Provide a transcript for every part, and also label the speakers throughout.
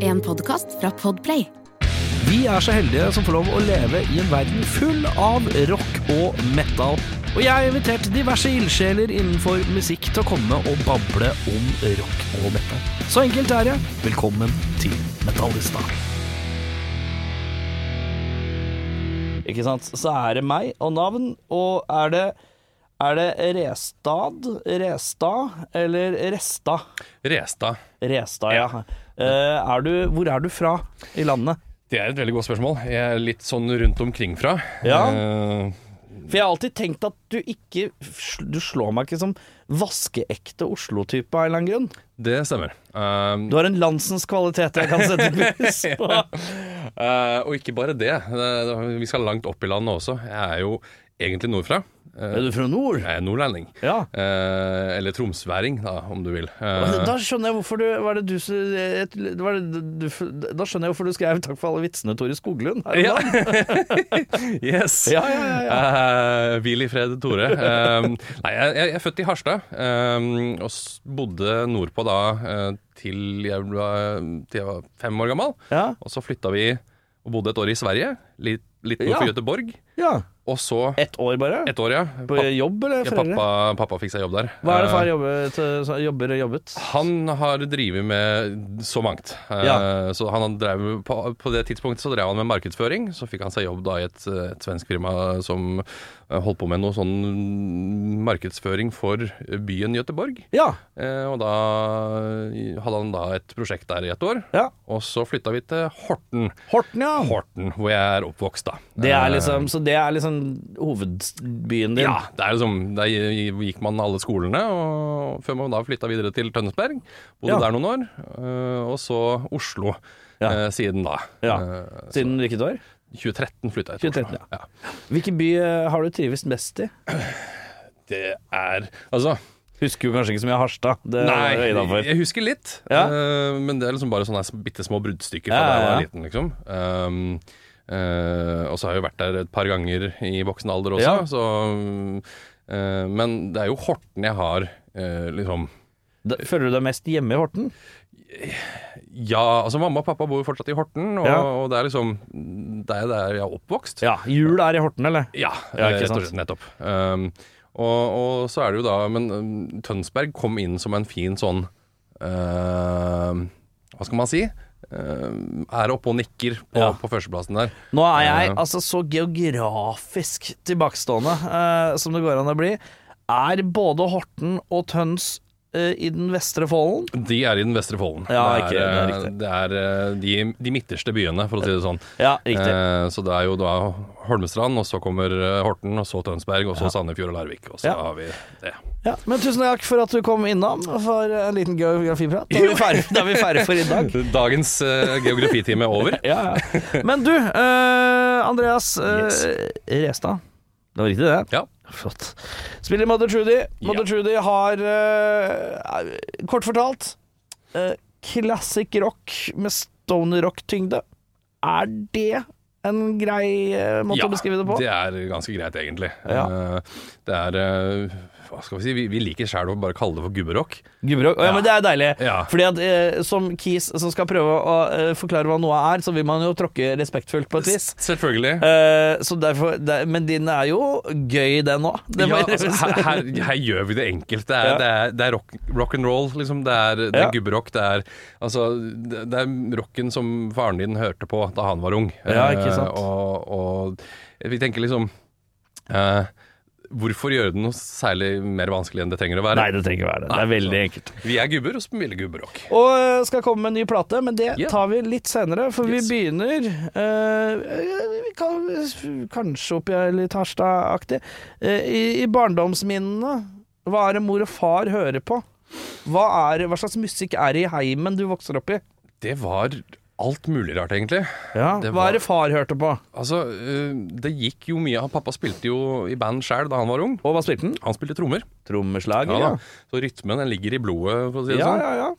Speaker 1: En podkast fra Podplay.
Speaker 2: Vi er så heldige som får lov å leve i en verden full av rock og metal. Og jeg har invitert diverse ildsjeler innenfor musikk til å komme og bable om rock og metal. Så enkelt er det. Velkommen til Metallista. Ikke sant. Så er det meg og navn, og er det er det Restad, Restad eller Resta?
Speaker 3: Restad.
Speaker 2: Restad, ja. Eh, er du, hvor er du fra i landet?
Speaker 3: Det er et veldig godt spørsmål. Jeg er litt sånn rundt omkring fra.
Speaker 2: Ja.
Speaker 3: Eh,
Speaker 2: For jeg har alltid tenkt at du ikke Du slår meg ikke som vaskeekte Oslo-type av en eller annen grunn.
Speaker 3: det stemmer. Eh,
Speaker 2: Du har en landsens kvalitet jeg kan sette pris på.
Speaker 3: eh, og ikke bare det. Eh, vi skal langt opp i landet også. Jeg er jo egentlig nordfra. Eh,
Speaker 2: Er du fra nord?
Speaker 3: jeg er nordlending.
Speaker 2: Ja.
Speaker 3: Eh, eller tromsværing, da, om du vil. Eh,
Speaker 2: Da skjønner jeg hvorfor du, var det du, som- et- var det du Da skjønner jeg hvorfor du skrev 'Takk for alle vitsene, Tore Skoglund'. her om
Speaker 3: Ja.
Speaker 2: dagen.
Speaker 3: yes.
Speaker 2: ja, ja, ja.
Speaker 3: Eh, hvil i fred, Tore. Eh, nei, jeg, jeg er født i Harstad, eh, og s- bodde nordpå da eh, til, jeg ble, til jeg var fem år gammel.
Speaker 2: Ja.
Speaker 3: Og så flytta vi og bodde et år i Sverige, litt, litt nord
Speaker 2: Ja.
Speaker 3: for Göteborg.
Speaker 2: ja.
Speaker 3: Og så
Speaker 2: Ett år bare?
Speaker 3: et år, ja.
Speaker 2: På
Speaker 3: Pappa,
Speaker 2: jobb, eller
Speaker 3: ja,
Speaker 2: foreldre?
Speaker 3: pappa, pappa fikk seg jobb der.
Speaker 2: Hva er det far
Speaker 3: Eh,
Speaker 2: jobbet, så- jobber og jobbet?
Speaker 3: Han har drevet med så mangt. Eh,
Speaker 2: Ja.
Speaker 3: Så han drev, på, på det tidspunktet så drev han med markedsføring. Så fikk han seg jobb da i et, eh, et svensk firma som eh, holdt på med noe sånn markedsføring for byen Göteborg.
Speaker 2: Ja.
Speaker 3: Eh, Og da hadde han da et prosjekt der i et år.
Speaker 2: ja.
Speaker 3: Og så flytta vi til Horten.
Speaker 2: Horten, ja.
Speaker 3: Horten, hvor jeg er oppvokst, da.
Speaker 2: Det er
Speaker 3: Eh,
Speaker 2: liksom, så det er liksom hovedbyen din?
Speaker 3: Ja, det er liksom, der gikk man alle skolene, og før man da flytta videre til Tønnesberg. Bodde
Speaker 2: Ja.
Speaker 3: der noen år, øh, og så Oslo
Speaker 2: Ja.
Speaker 3: eh, siden da.
Speaker 2: Ja.
Speaker 3: Eh,
Speaker 2: Siden hvilket år?
Speaker 3: 2013 flytta jeg til
Speaker 2: 2013,
Speaker 3: Oslo. Ja.
Speaker 2: Hvilken by eh, har du trives best i?
Speaker 3: Det er Altså,
Speaker 2: Husker jo kanskje ikke så mye Harstad. Det
Speaker 3: nei,
Speaker 2: er innenfor.
Speaker 3: jeg husker litt,
Speaker 2: Ja.
Speaker 3: eh, men det er liksom bare sånne bitte små bruddstykker fra
Speaker 2: Ja,
Speaker 3: da
Speaker 2: ja,
Speaker 3: jeg var
Speaker 2: ja.
Speaker 3: liten, liksom. Um, eh, og så har jeg jo vært der et par ganger i voksen alder også,
Speaker 2: Ja.
Speaker 3: så mm, eh, Men det er jo Horten jeg har eh, liksom
Speaker 2: Da- Føler du deg mest hjemme i Horten?
Speaker 3: Ja, altså mamma og pappa bor jo fortsatt i Horten, og,
Speaker 2: Ja.
Speaker 3: og det er liksom Det er der jeg er oppvokst.
Speaker 2: Ja. Jul er i Horten, eller?
Speaker 3: Ja,
Speaker 2: Ja, ikke
Speaker 3: rett og
Speaker 2: sant.
Speaker 3: slett. Nettopp. Um, og, og så er det jo da Men um, Tønsberg kom inn som en fin sånn um, Hva skal man si? Um, er oppe og nikker på,
Speaker 2: Ja.
Speaker 3: på førsteplassen der.
Speaker 2: Nå er jeg
Speaker 3: Ja.
Speaker 2: altså så geografisk tilbakestående eh, som det går an å bli. Er både Horten og Tøns eh, i den vestre Folden?
Speaker 3: De er i den vestre Folden.
Speaker 2: Ja,
Speaker 3: det er,
Speaker 2: ikke- det
Speaker 3: det er, eh, de, de midterste byene, for å si det sånn.
Speaker 2: Ja, riktig.
Speaker 3: Eh, så det er jo da Holmestrand, og så kommer eh, Horten, og så Tønsberg, og så Sandefjord og Larvik. Og så
Speaker 2: Ja.
Speaker 3: har vi det.
Speaker 2: Ja, men tusen takk for at du kom innom for en liten geografiprat. Da er vi ferdig, da er vi ferdig for i dag.
Speaker 3: Dagens eh, geografitime er over.
Speaker 2: ja, ja. Men du, eh, Andreas eh,
Speaker 3: Yes.
Speaker 2: Restad. Det var riktig, det.
Speaker 3: Ja.
Speaker 2: Flott. Spiller Mother Trudy. Mother
Speaker 3: Ja.
Speaker 2: Trudy har eh, er- Kort fortalt uh, Classic rock med stoner rock-tyngde. Er det en grei eh, måte å beskrive det på?
Speaker 3: det er ganske greit, egentlig.
Speaker 2: Ja.
Speaker 3: Eh, Det er eh, Hva skal vi si? Vi, vi liker sjæl å bare kalle det for gubberock.
Speaker 2: Gubberock. Å, Ja,
Speaker 3: Ja.
Speaker 2: men det er deilig.
Speaker 3: Ja.
Speaker 2: Fordi at eh, som Keys som skal prøve å eh, forklare hva noe er, så vil man jo tråkke respektfullt på et vis.
Speaker 3: Selvfølgelig.
Speaker 2: Eh, så derfor, det, men din er jo gøy, den òg.
Speaker 3: Ja, altså, her, her, her gjør vi det enkelt. Det er,
Speaker 2: Ja.
Speaker 3: det er, det er rock, rock and roll, liksom. Det er, det er
Speaker 2: Ja.
Speaker 3: gubberock. Det er, altså, det, det er rocken som faren din hørte på da han var ung.
Speaker 2: Ja, ikke sant?
Speaker 3: Eh, og, og vi tenker liksom eh, Hvorfor gjøre det noe særlig mer vanskelig enn det trenger å være?
Speaker 2: det trenger ikke være det.
Speaker 3: Nei, så-
Speaker 2: enkelt.
Speaker 3: Vi er gubber og spiller gubberock.
Speaker 2: Og eh, skal komme med en ny plate, men det
Speaker 3: Ja.
Speaker 2: tar vi litt senere, for
Speaker 3: Yes.
Speaker 2: vi begynner eh, vi kan, Kanskje oppi her litt Harstad-aktig. Eh, i, I barndomsminnene, hva er det mor og far hører på? Hva, er, hva slags musikk er det i heimen du vokser opp i?
Speaker 3: Det var alt mulig rart, egentlig. det
Speaker 2: Hva
Speaker 3: var-
Speaker 2: er det far hørte på?
Speaker 3: Altså, øh, det gikk jo mye av Pappa spilte jo i band sjæl da han var ung.
Speaker 2: Og hva spilte den?
Speaker 3: Han spilte trommer.
Speaker 2: Trommeslager,
Speaker 3: Ja, da. Så rytmen den ligger i blodet, for å si det
Speaker 2: Ja,
Speaker 3: sånn.
Speaker 2: ja, ja.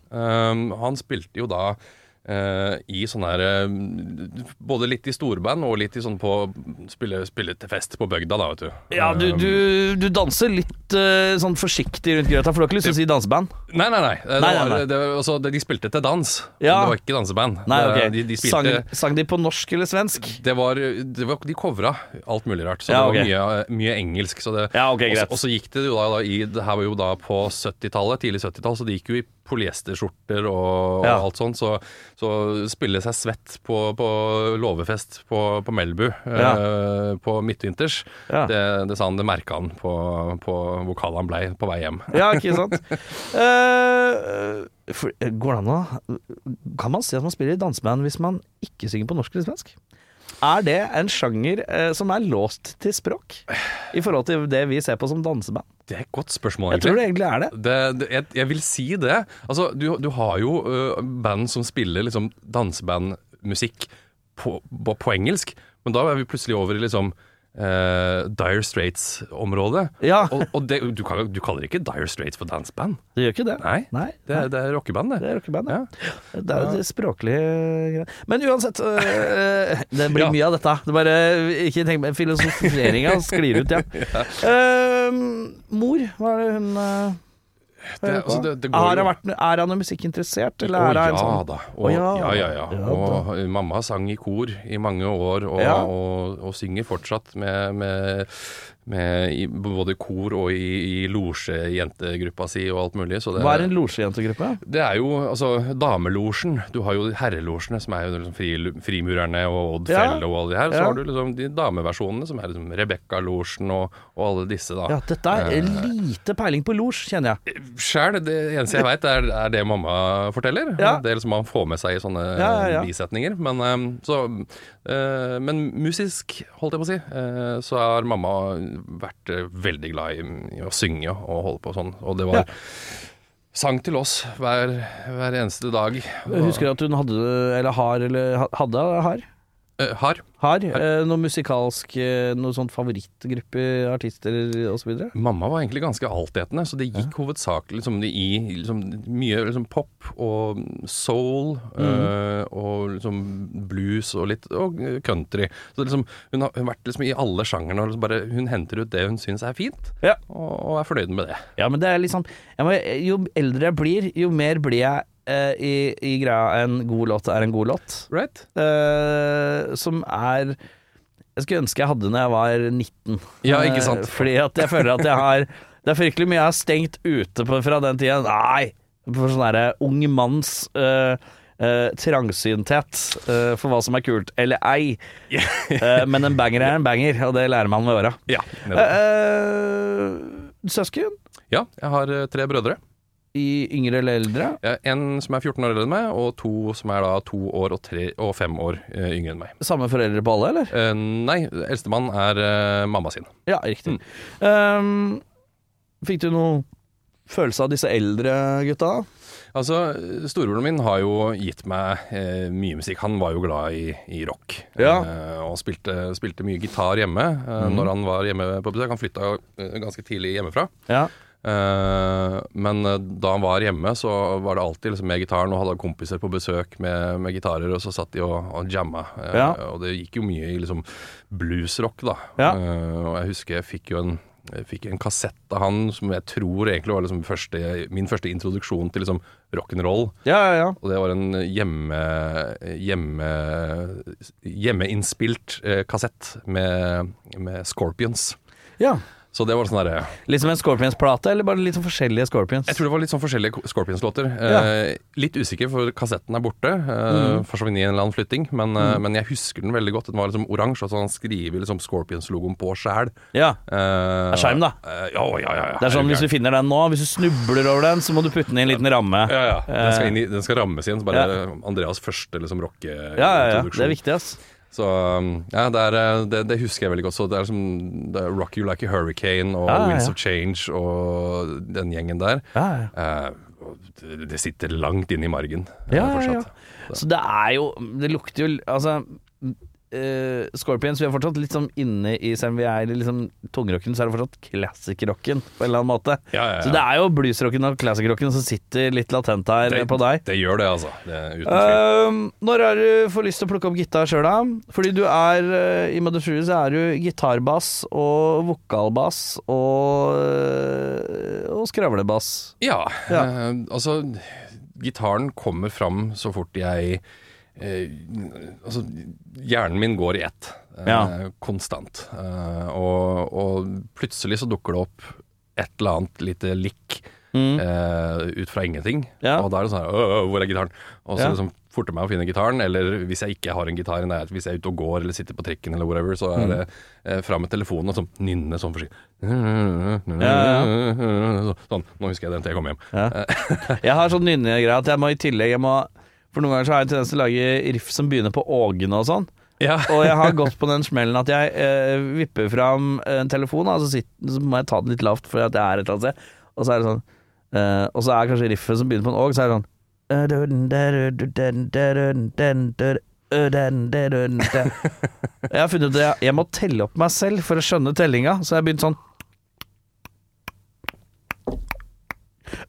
Speaker 3: Um, han spilte jo da eh, eh, i sånne her eh, Både litt i storband og litt i sånn på Spille, spille til fest på bygda, da, vet du.
Speaker 2: Ja, du,
Speaker 3: Eh,
Speaker 2: du, du danser litt eh, sånn forsiktig rundt grøta, for du har ikke lyst til å si danseband?
Speaker 3: Nei, nei, nei. Eh, Det
Speaker 2: Nei, nei,
Speaker 3: var,
Speaker 2: nei.
Speaker 3: Det, altså, det, de spilte til dans.
Speaker 2: Ja.
Speaker 3: Det var ikke danseband.
Speaker 2: Nei, ok.
Speaker 3: det, de, de
Speaker 2: sang,
Speaker 3: spilte
Speaker 2: sang de på norsk eller svensk?
Speaker 3: det var, det var, De covra alt mulig rart. Så
Speaker 2: Ja,
Speaker 3: det
Speaker 2: ok.
Speaker 3: var mye, mye engelsk. Så det,
Speaker 2: Ja, ok,
Speaker 3: og så-
Speaker 2: greit.
Speaker 3: og så gikk det jo da, da i Det her var jo da på 70-tallet, tidlig 70-tall, så det gikk jo i polyesterskjorter og,
Speaker 2: Ja.
Speaker 3: og alt sånt. Så, så spille seg svett på, på låvefest på, på Melbu eh, på midtvinters,
Speaker 2: Ja.
Speaker 3: det, det sa han, det merka han på, på vokalen han blei på vei hjem.
Speaker 2: Ja, ikke sant? Eh, for, går det an å Kan man si at man spiller i danseband hvis man ikke synger på norsk eller svensk? Er det en sjanger eh, som er låst til språk, i forhold til det vi ser på som danseband?
Speaker 3: Det er et godt spørsmål,
Speaker 2: Jeg tror det egentlig er det.
Speaker 3: det, det, jeg, jeg vil si det. Altså, du, du har jo ø, band som spiller liksom, dansebandmusikk på, på, på engelsk, men da er vi plutselig over i liksom eh, Dire Straits-området.
Speaker 2: Ja.
Speaker 3: Og, og det, du, kan, du kaller ikke Dire Straits for danseband?
Speaker 2: Det gjør ikke det.
Speaker 3: Nei,
Speaker 2: Nei,
Speaker 3: det, er- det er rockeband, det.
Speaker 2: Det er rockeband,
Speaker 3: Ja.
Speaker 2: ja. Det er jo det språklige greier. Men uansett, øh, det blir
Speaker 3: Ja.
Speaker 2: mye av dette. Det bare eh, Ikke tenk meg Filosoferinga sklir ut igjen. Ehm, mor, hva er det hun øh,
Speaker 3: Det-
Speaker 2: hører på?
Speaker 3: altså, det- det går
Speaker 2: har
Speaker 3: jo-
Speaker 2: hun vært, er hun noe musikkinteressert, eller
Speaker 3: Å
Speaker 2: er hun
Speaker 3: ja
Speaker 2: sånn
Speaker 3: da. Og,
Speaker 2: Å,
Speaker 3: ja.
Speaker 2: ja.
Speaker 3: Ja, ja,
Speaker 2: Ja,
Speaker 3: Og eh, mamma sang i kor i mange år, og,
Speaker 2: Ja.
Speaker 3: og, og synger fortsatt med, med, med i, både kor og i, i losjejentegruppa si og alt mulig. Så det,
Speaker 2: Hva er en losjejentegruppe?
Speaker 3: det er jo altså damelosjen. Du har jo herrelosjene, som er jo liksom fri, Frimurerne og Odd
Speaker 2: Ja.
Speaker 3: Felle og alle de her. Så
Speaker 2: Ja.
Speaker 3: har du liksom de dameversjonene, som er liksom Rebekka-losjen og, og alle disse, da.
Speaker 2: Ja, dette
Speaker 3: eh.
Speaker 2: er lite peiling på losj, kjenner jeg.
Speaker 3: Sjæl, det eneste jeg veit, er, er det mamma forteller.
Speaker 2: Ja.
Speaker 3: Det er liksom man får med seg i sånne
Speaker 2: Ja, ja, ja.
Speaker 3: bisetninger. Men, eh, så, eh, men musisk, holdt jeg på å si, eh, så har mamma vært eh, veldig glad i, i å synge og holde på sånn. Og det var
Speaker 2: Ja.
Speaker 3: sang til oss hver, hver eneste dag.
Speaker 2: Husker du at hun hadde, eller har, eller ha- hadde, har?
Speaker 3: Eh, har.
Speaker 2: Har eh, noe musikalsk, eh, noe sånn favorittgruppe, artister osv.?
Speaker 3: Mamma var egentlig ganske altetende, så det gikk hovedsakelig liksom, i liksom, mye liksom, pop og soul eh, og liksom, blues og litt og eh, country. Så det, liksom, hun har hun har vært liksom, i alle sjangerne og liksom, bare hun henter ut det hun syns er fint,
Speaker 2: Ja.
Speaker 3: og, og er fornøyd med det.
Speaker 2: Ja, men det er liksom jeg må, Jo eldre jeg blir, jo mer blir jeg eh, i, i greia en god låt er en god låt.
Speaker 3: Right?
Speaker 2: Eh, som er Jeg skulle ønske jeg hadde når jeg var 19.
Speaker 3: Ja, ikke sant?
Speaker 2: Eh, fordi at jeg føler at jeg har Det er fryktelig mye jeg har stengt ute på fra den tida. Nei! For sånn derre ung manns eh, eh, trangsynthet eh, for hva som er kult, eller ei. Eh, men en banger er en banger, og det lærer man ved åra.
Speaker 3: Ja. nettopp.
Speaker 2: Eh, søsken?
Speaker 3: ja. Jeg har eh, tre brødre.
Speaker 2: I yngre eller eldre?
Speaker 3: Jeg har En som er 14 år eldre enn meg, og to som er da to år og, tre, og fem år eh, yngre enn meg.
Speaker 2: Samme foreldre på alle, eller?
Speaker 3: Eh, nei, eldstemann er eh, mamma sin.
Speaker 2: Ja, riktig. Ehm, fikk du noe følelse av disse eldre gutta?
Speaker 3: Altså, Storebroren min har jo gitt meg eh, mye musikk. Han var jo glad i, i rock.
Speaker 2: Ja.
Speaker 3: Eh, og spilte, spilte mye gitar hjemme eh, når han var hjemme på besøk. Han flytta eh, ganske tidlig hjemmefra.
Speaker 2: Ja.
Speaker 3: Eh, men eh, da han var hjemme, så var det alltid liksom, med gitaren, og hadde kompiser på besøk med, med gitarer, og så satt de og, og jamma. Eh,
Speaker 2: Ja.
Speaker 3: Og det gikk jo mye i liksom bluesrock, da.
Speaker 2: Ja.
Speaker 3: Eh, og jeg husker jeg fikk jo en jeg fikk en kassett av han som jeg tror egentlig var liksom første, min første introduksjon til liksom rock'n'roll.
Speaker 2: ja, ja, ja.
Speaker 3: Og det var en hjemme, hjemme, hjemmeinnspilt eh, kassett med, med Scorpions.
Speaker 2: ja.
Speaker 3: Så det var sånn derre
Speaker 2: Litt som en Scorpions-plate, eller bare litt sånn forskjellige Scorpions?
Speaker 3: Jeg tror det var litt sånn forskjellige ko- Scorpions-låter. Eh, litt usikker, for kassetten er borte. Eh,
Speaker 2: Mm.
Speaker 3: Forsvant i en eller annen flytting. Men, eh, men jeg husker den veldig godt. Den var liksom oransje, og så han skriver liksom Scorpions-logoen på sjæl.
Speaker 2: Ja.
Speaker 3: Eh,
Speaker 2: Det er skjerm, da.
Speaker 3: eh, ja, ja, ja, ja.
Speaker 2: Det er sånn
Speaker 3: Herregud.
Speaker 2: hvis du finner den nå, hvis du snubler over den, så må du putte den i en liten ramme.
Speaker 3: ja, ja. Den, skal inn i, den skal rammes inn. Så bare Andreas første liksom,
Speaker 2: Ja, ja, ja.
Speaker 3: rocke-introduksjon.
Speaker 2: Det er viktig, ass.
Speaker 3: Så um, ja, det, er, eh, det, det husker jeg veldig godt. Så det er som det er Rock You Like a Hurricane og
Speaker 2: Ja, ja, ja.
Speaker 3: Winds of Change og den gjengen der.
Speaker 2: Ja, ja.
Speaker 3: Eh, og det, det sitter langt inne i margen eh,
Speaker 2: Ja, ja, ja.
Speaker 3: fortsatt.
Speaker 2: Så det er jo Det lukter jo Altså eh, Scorpions, vi er fortsatt litt sånn inne i Selv om vi er i liksom tungrocken, så er det fortsatt classic-rocken på en eller annen måte.
Speaker 3: Ja, ja, ja.
Speaker 2: Så det er jo bluesrocken og classic-rocken som sitter litt latent her eh, på deg.
Speaker 3: Det gjør det, altså. Det er uten tvil.
Speaker 2: Um, når har du får lyst til å plukke opp gitar sjøl, da? Fordi du er eh, i Mother Fury så er du gitarbass og vokalbass og, eh, og skravlebass.
Speaker 3: Ja,
Speaker 2: Ja.
Speaker 3: eh, altså Gitaren kommer fram så fort jeg eh, Altså, hjernen min går i ett. eh,
Speaker 2: Ja.
Speaker 3: Konstant. Eh, og, og plutselig så dukker det opp et eller annet lite likk eh, ut fra ingenting.
Speaker 2: Mm. Ja.
Speaker 3: Og da er det sånn her, «Åh, Hvor er gitaren? Og så
Speaker 2: Ja.
Speaker 3: liksom forter meg å finne gitaren. Eller hvis jeg ikke har en gitar i nærheten, hvis jeg er ute og går eller sitter på trikken eller whatever, så
Speaker 2: Mm.
Speaker 3: er det eh, fram med telefonen og sånn nynne sånn forsiktig. Så- Sånn, nå husker jeg den til jeg kommer hjem.
Speaker 2: Jeg har sånn nynnegreie at jeg må i tillegg jeg må, For noen ganger så har jeg en tendens til å lage riff som begynner på ågene og sånn.
Speaker 3: Ja.
Speaker 2: Og jeg har gått på den smellen at jeg eh, vipper fram en telefon, da, og så, sitter, så må jeg ta den litt lavt fordi at jeg er et eller annet sted. Og så er det sånn eh, Og så er kanskje riffet som begynner på en åg, så er det sånn jeg har funnet ut at jeg, jeg må telle opp meg selv for å skjønne tellinga, så jeg har begynt sånn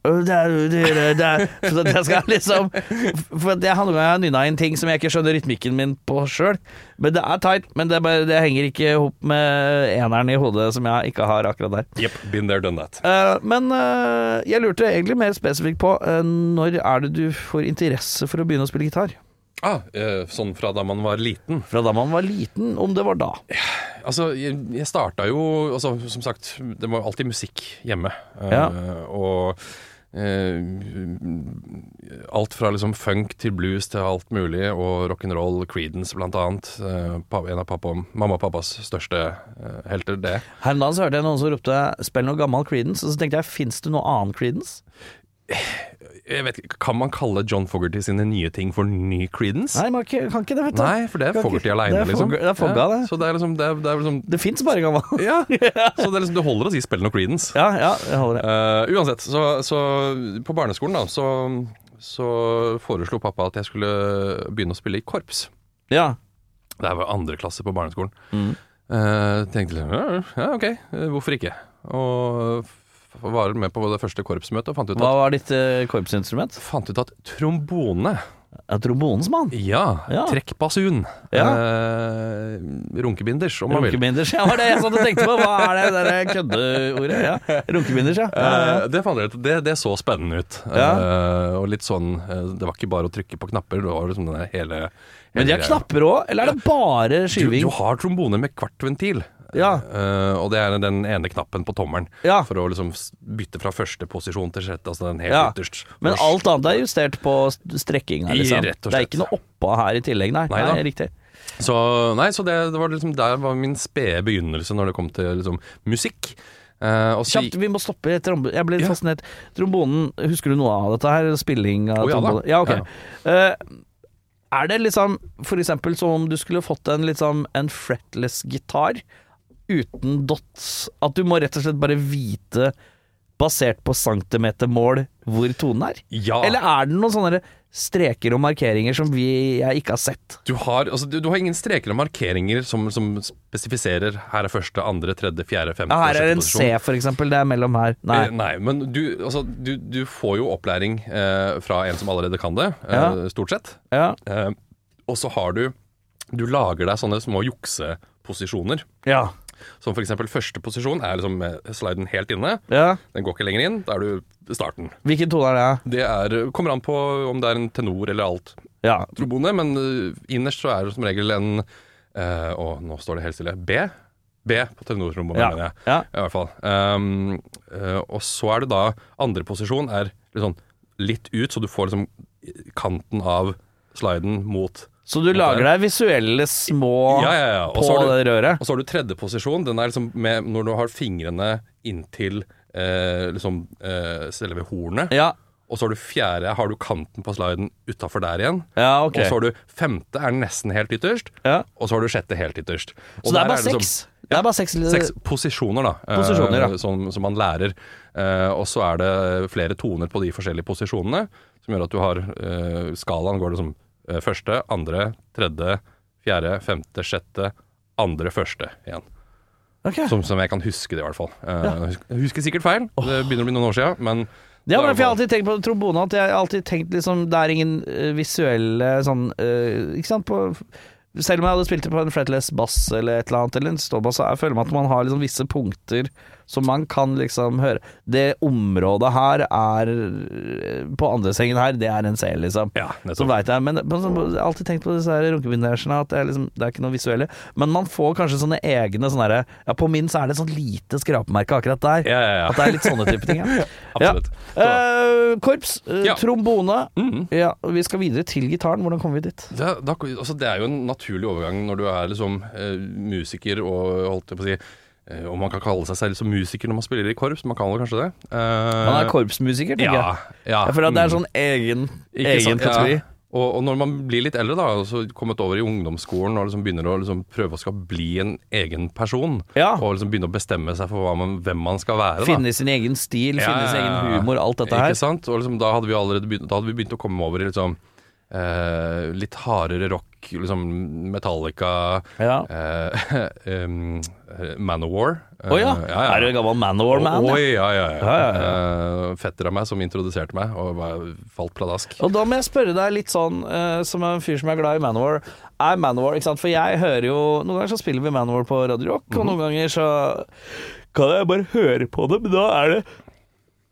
Speaker 2: Øh, Så at jeg skal liksom For at jeg har noen ganger nynna inn ting som jeg ikke skjønner rytmikken min på sjøl. Men det er tight, men det, er bare, det henger ikke ihop med eneren i hodet som jeg ikke har akkurat der.
Speaker 3: Jepp, been there, done that.
Speaker 2: Eh, men eh, jeg lurte egentlig mer spesifikt på eh, når er det du får interesse for å begynne å spille gitar?
Speaker 3: Ah, eh, sånn fra da man var liten.
Speaker 2: Fra da man var liten, om det var da.
Speaker 3: Altså, jeg, jeg starta jo altså, Som sagt, det var alltid musikk hjemme. Eh,
Speaker 2: Ja.
Speaker 3: og eh, alt fra liksom funk til blues til alt mulig, og rock'n'roll, Creedence blant annet. Eh, pa- en av pappa, mamma og pappas største eh, helter, det.
Speaker 2: Her om dagen så hørte jeg noen som ropte 'spill noe gammel Creedence', og så tenkte jeg 'fins det noe annen Creedence'?
Speaker 3: Jeg vet ikke, Kan man kalle John Fogerty sine nye ting for ny Creedence?
Speaker 2: Nei, man kan kan ikke det, vet du.
Speaker 3: Nei, for det er
Speaker 2: Kan ikke-
Speaker 3: Fogerty
Speaker 2: det
Speaker 3: aleine,
Speaker 2: er
Speaker 3: liksom.
Speaker 2: Foger- det er Fogga, det.
Speaker 3: Så det er liksom, det er, det er liksom
Speaker 2: Det fins bare gammel.
Speaker 3: Ja, så det, er liksom, det holder å si 'spill noe Creedence'.
Speaker 2: ja, ja, jeg holder det.
Speaker 3: Eh, uansett, så, så på barneskolen da, så, så foreslo pappa at jeg skulle begynne å spille i korps.
Speaker 2: Ja.
Speaker 3: Det her var andre klasse på barneskolen.
Speaker 2: Mm.
Speaker 3: Eh, tenkte litt, ja, ja, ok, eh, hvorfor ikke? Og f- var med på det første korpsmøtet og fant ut
Speaker 2: Hva
Speaker 3: at,
Speaker 2: var ditt eh, korpsinstrument?
Speaker 3: fant ut at trombone,
Speaker 2: Ja, Trombonens mann.
Speaker 3: ja,
Speaker 2: Ja.
Speaker 3: trekkbasun,
Speaker 2: Ja.
Speaker 3: eh, runkebinders om man vil.
Speaker 2: Runkebinders, ja, var det jeg satt og tenkte på. Hva er det der køddeordet? Ja. Runkebinders, ja. ja, ja.
Speaker 3: Eh, det fant jeg ut. Det, det så spennende ut. Eh, og litt sånn eh, Det var ikke bare å trykke på knapper, det var liksom den der hele, hele
Speaker 2: Men de har
Speaker 3: greia.
Speaker 2: knapper òg, eller er det bare
Speaker 3: Du,
Speaker 2: skyving?
Speaker 3: du har trombone med kvartventil.
Speaker 2: Ja.
Speaker 3: Eh, og det er den ene knappen på tommelen
Speaker 2: Ja.
Speaker 3: for å liksom s- bytte fra første posisjon til sjette. Altså den helt
Speaker 2: Ja.
Speaker 3: ytterst.
Speaker 2: Men
Speaker 3: Norsk.
Speaker 2: alt annet er justert på st- strekkinga,
Speaker 3: I-
Speaker 2: liksom.
Speaker 3: rett og
Speaker 2: Det er
Speaker 3: slett.
Speaker 2: ikke noe oppå her i tillegg, nei. nei,
Speaker 3: Neida.
Speaker 2: riktig.
Speaker 3: Så, nei, så det, det var liksom der var min spede begynnelse når det kom til liksom, musikk. Eh, og så
Speaker 2: Kjapt, vi må stoppe. Trombo- Jeg ble litt
Speaker 3: Ja.
Speaker 2: fascinert. Trombonen, husker du noe av dette her? Spilling av
Speaker 3: Å, ja da.
Speaker 2: trombone? Ja, ok. Eh, er det liksom For eksempel som om du skulle fått en, liksom, en fretless gitar uten dots At du må rett og slett bare vite, basert på centimetermål, hvor tonen er?
Speaker 3: Ja.
Speaker 2: Eller er det noen sånne streker og markeringer som vi, jeg ikke har sett?
Speaker 3: Du har, altså, du, du har ingen streker og markeringer som, som spesifiserer her er første, andre, tredje, fjerde, femte,
Speaker 2: Ja, her er
Speaker 3: sjette
Speaker 2: det en
Speaker 3: posisjon.
Speaker 2: C, for eksempel. Det er mellom her. Nei.
Speaker 3: Eh, Nei, men du, altså, du, du får jo opplæring eh, fra en som allerede kan det, eh,
Speaker 2: Ja.
Speaker 3: stort sett.
Speaker 2: Ja.
Speaker 3: Eh, og så har du Du lager deg sånne små jukseposisjoner.
Speaker 2: Ja.
Speaker 3: Som f.eks. første posisjon er liksom eh, sliden helt inne.
Speaker 2: ja.
Speaker 3: Den går ikke lenger inn. Da er du starten.
Speaker 2: Hvilken tone er det?
Speaker 3: Det er, kommer an på om det er en tenor eller alt
Speaker 2: Ja.
Speaker 3: trombone, men eh, innerst så er det som regel en eh, Å, nå står det helt stille. B. B på tenortrombonen,
Speaker 2: Ja.
Speaker 3: mener jeg.
Speaker 2: ja.
Speaker 3: I hvert fall. Ehm, eh, og så er det da andre posisjon er litt sånn litt ut, så du får liksom kanten av sliden mot
Speaker 2: Så du lager deg visuelle små
Speaker 3: Ja, ja, ja. Og
Speaker 2: på
Speaker 3: så har du-
Speaker 2: det røret?
Speaker 3: Og så har du tredje posisjon. Den er liksom med når du har fingrene inntil eh, liksom eh, selve hornet.
Speaker 2: Ja.
Speaker 3: Og så har du fjerde, har du kanten på sliden utafor der igjen.
Speaker 2: ja, ok.
Speaker 3: Og så har du femte er nesten helt ytterst.
Speaker 2: Ja.
Speaker 3: Og så har du sjette helt ytterst.
Speaker 2: Så
Speaker 3: Og
Speaker 2: det
Speaker 3: der
Speaker 2: er bare
Speaker 3: liksom-
Speaker 2: seks? Det er bare seks,
Speaker 3: Seks posisjoner, da. eh,
Speaker 2: Posisjoner, ja.
Speaker 3: Som, som man lærer. Eh, og så er det flere toner på de forskjellige posisjonene, som gjør at du har eh, Skalaen går liksom eh, første, andre, tredje, fjerde, femte, sjette, andre, første igjen.
Speaker 2: Ok.
Speaker 3: Som, som jeg kan huske det, i hvert fall. Eh, husk- Jeg husker sikkert feil, det begynner å bli noen år sia, men
Speaker 2: Ja, men
Speaker 3: det er
Speaker 2: for jeg har
Speaker 3: jo-
Speaker 2: alltid tenkt på trombone at jeg har alltid tenkt liksom Det er ingen eh, visuelle sånn eh, Ikke sant? På, selv om jeg hadde spilt det på en fretless bass eller et eller annet, eller en ståbass, så jeg føler man at man har liksom visse punkter som man kan liksom høre Det området her er eh, På andre sengen her, det er en C, liksom.
Speaker 3: Ja, nettopp.
Speaker 2: så veit jeg. Men men så- jeg har alltid tenkt på disse her runkebindersene, at det er, liksom, det er ikke noe visuelle. Men man får kanskje sånne egne sånne herre Ja, på min så er det sånn lite skrapemerke akkurat der.
Speaker 3: Ja, ja, ja.
Speaker 2: At det er litt sånne type ting. Ja.
Speaker 3: Absolutt.
Speaker 2: Ja. Eh, korps, eh,
Speaker 3: Ja. Mm.
Speaker 2: trombone. Ja, og vi skal videre til gitaren. Hvordan kommer vi dit?
Speaker 3: Det, er- da, altså det er jo en naturlig overgang når du er liksom eh, musiker og holdt jeg på å si eh, Om man kan kalle seg selv som musiker når man spiller i korps, man kan vel kanskje det? Eh,
Speaker 2: Han er korpsmusiker, tenker
Speaker 3: ja,
Speaker 2: jeg.
Speaker 3: ja.
Speaker 2: Jeg føler at det er
Speaker 3: mm.
Speaker 2: sånn egen,
Speaker 3: Ikke
Speaker 2: egen
Speaker 3: sant?
Speaker 2: kategori.
Speaker 3: Ja. Og, og når man blir litt eldre, da, og så kommet over i ungdomsskolen og liksom begynner å liksom prøve å skal bli en egen person,
Speaker 2: Ja.
Speaker 3: og liksom begynne å bestemme seg for hva man, hvem man skal være da.
Speaker 2: Finne sin egen stil,
Speaker 3: Ja,
Speaker 2: finne sin
Speaker 3: ja, ja.
Speaker 2: egen humor, alt dette
Speaker 3: Ikke
Speaker 2: her.
Speaker 3: sant? Og liksom, da hadde vi allerede begynt, da hadde vi begynt å komme over i liksom, eh, litt hardere rock, liksom Metallica,
Speaker 2: Ja.
Speaker 3: eh, em, eh, Manowar.
Speaker 2: Å ja.
Speaker 3: Eh,
Speaker 2: Er du en gammel Manowar-man?
Speaker 3: Oi,
Speaker 2: ja?
Speaker 3: ja, ja, ja.
Speaker 2: Ja, ja,
Speaker 3: Eh, Fetter av meg som introduserte meg, og bare falt pladask.
Speaker 2: Og da må jeg spørre deg litt sånn, eh, som en fyr som er glad i Manowar. Er Manowar, ikke sant? For jeg hører jo Noen ganger så spiller vi Manowar på Radio Rock,
Speaker 3: Mhm.
Speaker 2: og noen ganger så kan jeg bare høre på det, men da er det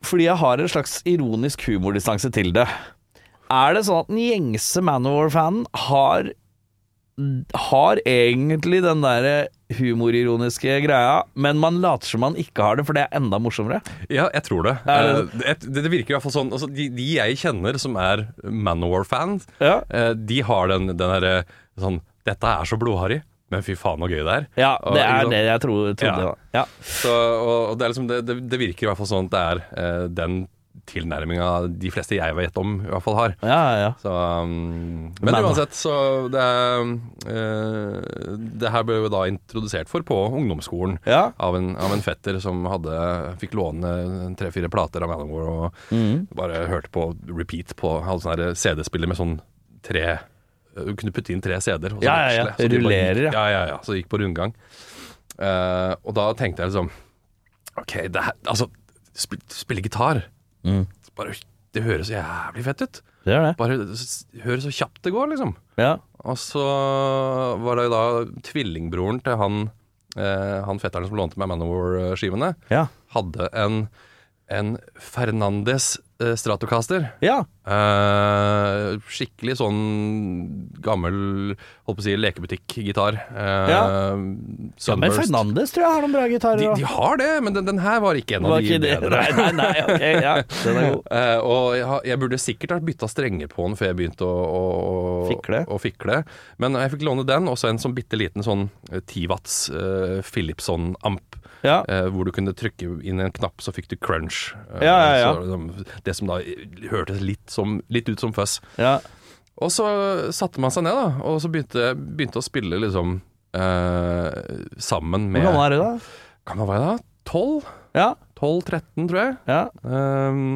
Speaker 2: fordi jeg har en slags ironisk humordistanse til det. Er det sånn at den gjengse Manowar-fanen har har egentlig den derre humorironiske greia, men man later som man ikke har det, for det er enda morsommere.
Speaker 3: Ja, jeg tror det.
Speaker 2: Er
Speaker 3: Eh, det, det, det virker i hvert fall sånn. Altså, de, de jeg kjenner som er Manowar-fans,
Speaker 2: Ja.
Speaker 3: eh, de har den, den derre sånn Dette er så blodharry, men fy faen så gøy det er.
Speaker 2: Ja,
Speaker 3: Og,
Speaker 2: det
Speaker 3: ikke
Speaker 2: er
Speaker 3: sant?
Speaker 2: det jeg tro,
Speaker 3: Ja.
Speaker 2: trodde. Ja. Ja.
Speaker 3: Så, og, og det, er liksom, det, det, det virker i hvert fall sånn at det er eh, den tilnærminga de fleste jeg vet om, i hvert fall har.
Speaker 2: ja, ja, ja.
Speaker 3: Så, um, men
Speaker 2: Men-
Speaker 3: uansett, så det, er, eh, det her ble jo da introdusert for på ungdomsskolen
Speaker 2: Ja.
Speaker 3: av, en, av en fetter som hadde, fikk låne en tre-fire plater av Manowar og
Speaker 2: Mm.
Speaker 3: bare hørte på repeat på hadde sånn her CD-spiller med sånn tre Du kunne putte inn tre CD-er. og så
Speaker 2: Ja, ja, ja.
Speaker 3: veksle. Så de bare
Speaker 2: Rullerer, ja.
Speaker 3: gikk, ja. Ja, ja, Så det gikk på rundgang. Eh, og da tenkte jeg liksom OK, det her Altså, sp spille gitar
Speaker 2: Mm.
Speaker 3: Så bare, Det høres så jævlig fett ut.
Speaker 2: Det er det.
Speaker 3: Bare s- hør så kjapt det går, liksom.
Speaker 2: Ja.
Speaker 3: Og så var det jo da tvillingbroren til han, eh, han fetteren som lånte meg Manowar-skivene,
Speaker 2: Ja.
Speaker 3: hadde en, en Fernandes eh, Stratocaster.
Speaker 2: ja.
Speaker 3: Eh, skikkelig sånn gammel, holdt på å si, lekebutikk-gitar. Eh,
Speaker 2: Ja. Men
Speaker 3: Sunburst.
Speaker 2: Fernandes tror jeg har noen bra gitarer.
Speaker 3: de,
Speaker 2: også.
Speaker 3: de har det, men den, den her var ikke en av
Speaker 2: Var
Speaker 3: de
Speaker 2: ikke det?
Speaker 3: bedre.
Speaker 2: Nei, nei, nei, ok, ja. Den er god.
Speaker 3: Eh, og jeg, har- jeg burde sikkert ha bytta strenger på den før jeg begynte å, å, å,
Speaker 2: Fikle.
Speaker 3: å fikle. Men jeg fikk låne den, og så en sånn bitte liten sånn eh, 10 watts eh, Philipson-amp.
Speaker 2: Ja.
Speaker 3: eh, hvor du kunne trykke inn en knapp, så fikk du crunch. Eh,
Speaker 2: Ja, ja, ja.
Speaker 3: Så, liksom, det som da hørtes litt, som, litt ut som fuzz.
Speaker 2: Ja.
Speaker 3: Og så satte man seg ned, da, og så begynte, begynte å spille liksom eh, sammen med
Speaker 2: Hvor gammel er du da?
Speaker 3: Kan man være da? 12?
Speaker 2: Ja.
Speaker 3: 12-13, tror jeg.
Speaker 2: ja.
Speaker 3: Ehm,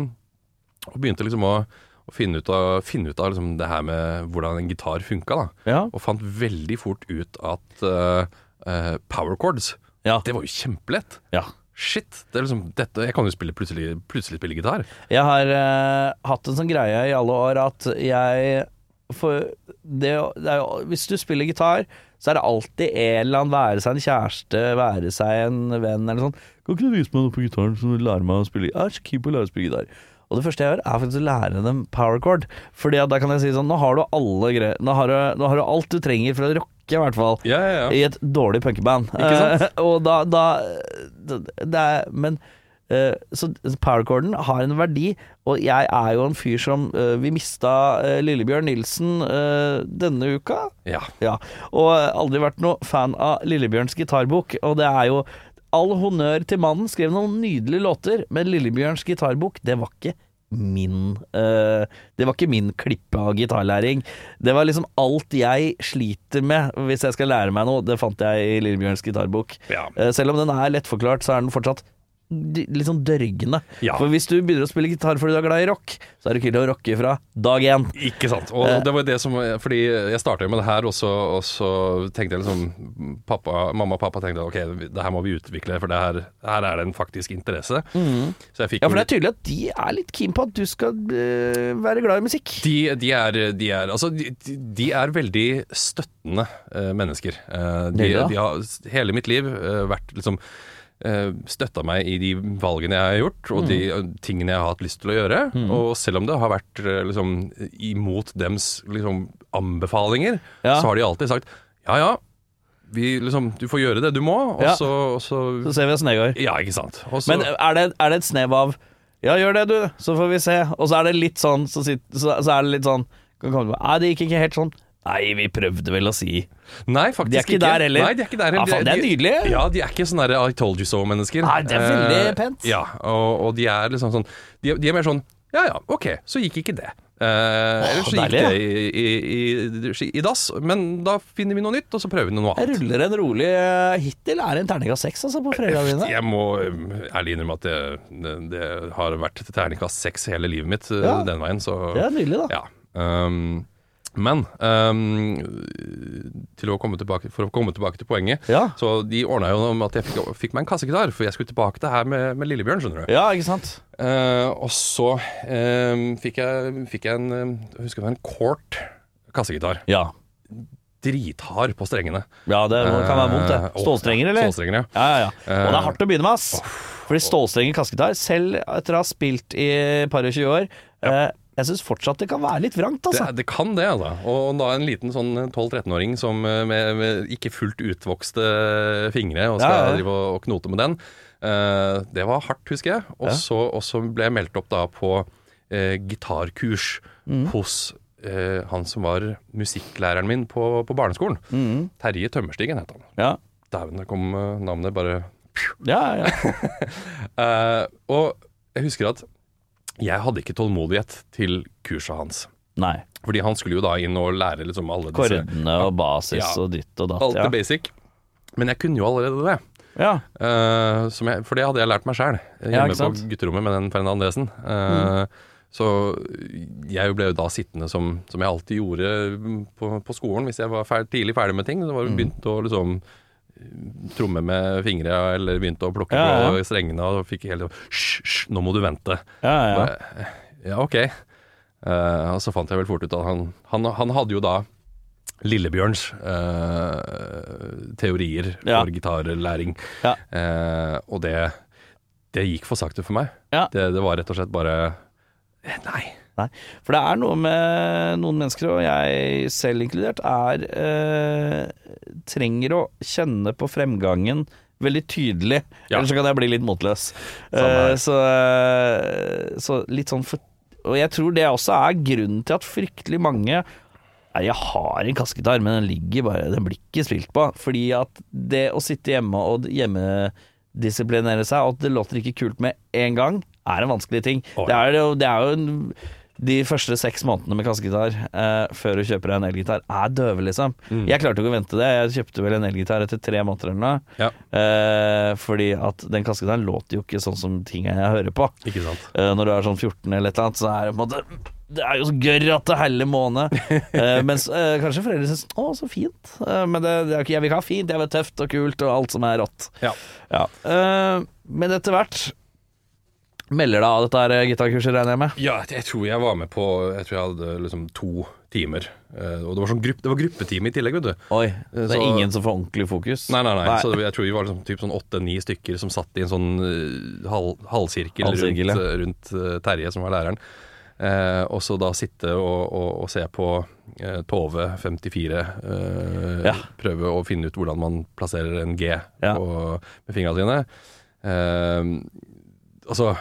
Speaker 3: og begynte liksom å, å finne ut av, finne ut av liksom det her med hvordan en gitar funka, da.
Speaker 2: Ja.
Speaker 3: Og fant veldig fort ut at eh, eh, power chords,
Speaker 2: Ja.
Speaker 3: det var jo kjempelett.
Speaker 2: ja.
Speaker 3: Shit! Det er liksom, dette, jeg kan jo spille plutselig, plutselig spille gitar.
Speaker 2: Jeg har eh, hatt en sånn greie i alle år at jeg for det, det er jo, Hvis du spiller gitar, så er det alltid en eller annen være seg en kjæreste, være seg en venn eller sånn. Kan ikke du vise meg noe på gitaren som du lærer meg å spille Jeg er så keen på å lære å spille gitar. Og det første jeg gjør, er faktisk å lære dem power chord. Fordi at da kan jeg si sånn Nå har du alle greier Nå har du, nå har du alt du trenger for å rocke, i hvert fall.
Speaker 3: Ja, ja,
Speaker 2: I et dårlig punkeband.
Speaker 3: Ikke sant?
Speaker 2: Eh, og da, da det- det er, Men eh, så powercorden har en verdi, og jeg er jo en fyr som eh, Vi mista eh, Lillebjørn Nilsen eh, denne uka.
Speaker 3: ja.
Speaker 2: Ja, og eh, aldri vært noe fan av Lillebjørns gitarbok, og det er jo All honnør til mannen, skrev noen nydelige låter, men Lillebjørns gitarbok, det var ikke min eh, Det var ikke min klippe av gitarlæring. Det var liksom alt jeg sliter med hvis jeg skal lære meg noe, det fant jeg i Lillebjørns gitarbok.
Speaker 3: Ja.
Speaker 2: Eh, selv om den er lettforklart, så er den fortsatt d- litt sånn dørgende.
Speaker 3: Ja.
Speaker 2: For hvis du begynner å spille gitar fordi du er glad i rock, så er det kult å rocke fra dag én.
Speaker 3: Ikke sant. Og
Speaker 2: Eh.
Speaker 3: det var jo det som Fordi jeg starta jo med det her, og så, og så tenkte jeg liksom pappa, Mamma og pappa tenkte ok, det her må vi utvikle, for det her, her er det en faktisk interesse. Så jeg
Speaker 2: Mm.
Speaker 3: fikk
Speaker 2: Ja, for
Speaker 3: jo
Speaker 2: det er tydelig at de er litt keen på at du skal eh, være glad i musikk.
Speaker 3: De, de, er, de, er, altså, de, de er veldig støttende eh, mennesker. Eh, de,
Speaker 2: Nydelig, da.
Speaker 3: de har s- hele mitt liv eh, vært liksom eh, Støtta meg i de valgene jeg har gjort, og de
Speaker 2: Mm.
Speaker 3: eh, tingene jeg har hatt lyst til å gjøre. Og selv om det har vært eh, liksom, imot dems liksom, anbefalinger,
Speaker 2: Ja.
Speaker 3: så har de alltid sagt ja ja, vi, liksom, du får gjøre det du må, og
Speaker 2: Ja.
Speaker 3: så, og så
Speaker 2: Så ser vi åssen det går.
Speaker 3: Ja, ikke sant. Og så,
Speaker 2: Men er det, er det et snev av Ja, gjør det, du, så får vi se. Og så er det litt sånn Så, sitt, så, så er det litt sånn kan komme, Nei, det gikk ikke helt sånn. Nei, vi prøvde vel å si
Speaker 3: Nei, faktisk
Speaker 2: De er ikke der heller.
Speaker 3: Nei, de er ikke der
Speaker 2: Ja, faen, det er
Speaker 3: De-
Speaker 2: nydelig.
Speaker 3: Ja, de er ikke sånne der I told you so-mennesker.
Speaker 2: Nei, det er veldig
Speaker 3: Eh,
Speaker 2: pent.
Speaker 3: Ja, og, og de er liksom sånn de, er- de er mer sånn Ja ja, ok, så gikk ikke det. Eh, Ellers så gikk
Speaker 2: deilig, ja.
Speaker 3: det i, i, i, i dass, men da finner vi noe nytt, og så prøver vi noe
Speaker 2: Jeg
Speaker 3: annet.
Speaker 2: ruller en rolig eh, Hittil er det en terning av seks, altså, på fredagen dine.
Speaker 3: Jeg må eh, ærlig innrømme at det, det, det har vært terningkast seks hele livet mitt eh,
Speaker 2: Ja.
Speaker 3: den veien, så
Speaker 2: Det er nydelig, da.
Speaker 3: Ja. Ehm, men ehm, til å komme tilbake, for å komme tilbake til poenget
Speaker 2: Ja.
Speaker 3: Så de ordna jo noe med at jeg fikk, fikk meg en kassegitar, for jeg skulle tilbake til her med, med Lillebjørn, skjønner du.
Speaker 2: Ja, ikke sant?
Speaker 3: Eh, og så ehm, fikk, jeg, fikk jeg en eh, Jeg husker det var en Court kassegitar.
Speaker 2: Ja.
Speaker 3: Drithard på strengene.
Speaker 2: ja det kan være vondt,
Speaker 3: Eh,
Speaker 2: det.
Speaker 3: og-
Speaker 2: Stålstrenger, eller?
Speaker 3: Stålstrenger, ja.
Speaker 2: Ja, ja, ja. Og det
Speaker 3: Eh.
Speaker 2: er hardt å begynne med, ass. Fordi stålstrenger kassegitar, selv etter å ha spilt i et par og 20 år eh, Jeg syns fortsatt det kan være litt vrangt,
Speaker 3: Det,
Speaker 2: altså.
Speaker 3: det kan det, altså. Og da en liten sånn 12-13-åring som eh, med, med ikke fullt utvokste eh, fingre og skal
Speaker 2: Ja, ja.
Speaker 3: drive og, og knote med den. Eh, det var hardt, husker jeg. Og så, og så ble jeg meldt opp da på eh, gitarkurs
Speaker 2: Mm.
Speaker 3: hos eh, han som var musikklæreren min på, på barneskolen.
Speaker 2: Mm.
Speaker 3: Terje Tømmerstigen het han.
Speaker 2: Ja,
Speaker 3: Dæven, der kom eh, navnet bare
Speaker 2: ja, ja.
Speaker 3: Eh, Og jeg husker at jeg hadde ikke tålmodighet til kurset hans.
Speaker 2: Nei.
Speaker 3: Fordi han skulle jo da inn og lære liksom alle disse
Speaker 2: Kordene og basis
Speaker 3: Ja.
Speaker 2: og ditt og
Speaker 3: Alt det
Speaker 2: datt.
Speaker 3: basic. Men jeg kunne jo allerede det.
Speaker 2: Ja. ja.
Speaker 3: Eh, som jeg, for det hadde jeg lært meg sjøl,
Speaker 2: Ja, ikke
Speaker 3: hjemme på
Speaker 2: sant? Mm.
Speaker 3: gutterommet med den Fernand Andresen. Eh, Så jeg ble jo da sittende som, som jeg alltid gjorde mm, på, på skolen hvis jeg var fer tidlig ferdig med ting. Så
Speaker 2: Mm.
Speaker 3: var det begynt å liksom tromme med fingra eller begynte å plukke
Speaker 2: Ja, ja, ja.
Speaker 3: på strengene og fikk hele Hysj, hysj, nå må du vente.
Speaker 2: ja, ja.
Speaker 3: Bare, ja, ok. Eh, og så fant jeg vel fort ut at han, han, han hadde jo da Lillebjørns eh, teorier
Speaker 2: Ja.
Speaker 3: for gitarlæring.
Speaker 2: Ja.
Speaker 3: Eh, og det, det gikk for sakte for meg.
Speaker 2: Ja.
Speaker 3: Det, det var rett og slett bare eh, Nei.
Speaker 2: Nei. For det er noe med noen mennesker, og jeg selv inkludert, er eh, trenger å kjenne på fremgangen veldig tydelig.
Speaker 3: Ja.
Speaker 2: Ellers så kan jeg bli litt motløs.
Speaker 3: Samme her.
Speaker 2: Eh, så, så litt sånn for, Og jeg tror det også er grunnen til at fryktelig mange Nei, jeg har en kassegitar, men den ligger bare Den blir ikke spilt på. Fordi at det å sitte hjemme og hjemmedisiplinere seg, og at det låter ikke kult med en gang, er en vanskelig ting.
Speaker 3: Å, ja.
Speaker 2: Det er jo, det er jo en, de første seks månedene med kassegitar eh, før du kjøper deg en elgitar, er døve, liksom.
Speaker 3: Mm.
Speaker 2: Jeg klarte ikke å vente det. Jeg kjøpte vel en elgitar etter tre måneder eller noe.
Speaker 3: Ja,
Speaker 2: Eh, fordi at den kassegitaren låter jo ikke sånn som ting jeg hører på.
Speaker 3: ikke sant.
Speaker 2: Eh, når du er sånn 14 eller et eller annet, så er det på en måte Det er jo så gørr at det heller måned. Eh, mens eh, kanskje foreldre syns Å, så fint. Eh, men det, det er ikke, jeg vil ikke ha fint, jeg vil ha tøft og kult og alt som er rått.
Speaker 3: Ja.
Speaker 2: Ja. Eh, men etter hvert melder deg av dette her gitarkurset, regner jeg med.
Speaker 3: Ja, jeg tror jeg var med på Jeg tror jeg hadde liksom to timer. Eh, og det var, sånn grupp, det var gruppetime i tillegg, vet du.
Speaker 2: Oi, det er
Speaker 3: så-
Speaker 2: ingen som får ordentlig fokus.
Speaker 3: Nei, nei, nei. Så jeg tror vi var liksom, typ sånn åtte-ni stykker som satt i en sånn eh, hal halvsirkel,
Speaker 2: Halvsirkel, ja.
Speaker 3: rundt, eh, rundt eh, Terje, som var læreren. Eh, og så da sitte og, og, og se på eh, Tove 54 eh,
Speaker 2: Ja.
Speaker 3: prøve å finne ut hvordan man plasserer en G
Speaker 2: Ja.
Speaker 3: på, med fingra sine. Eh, altså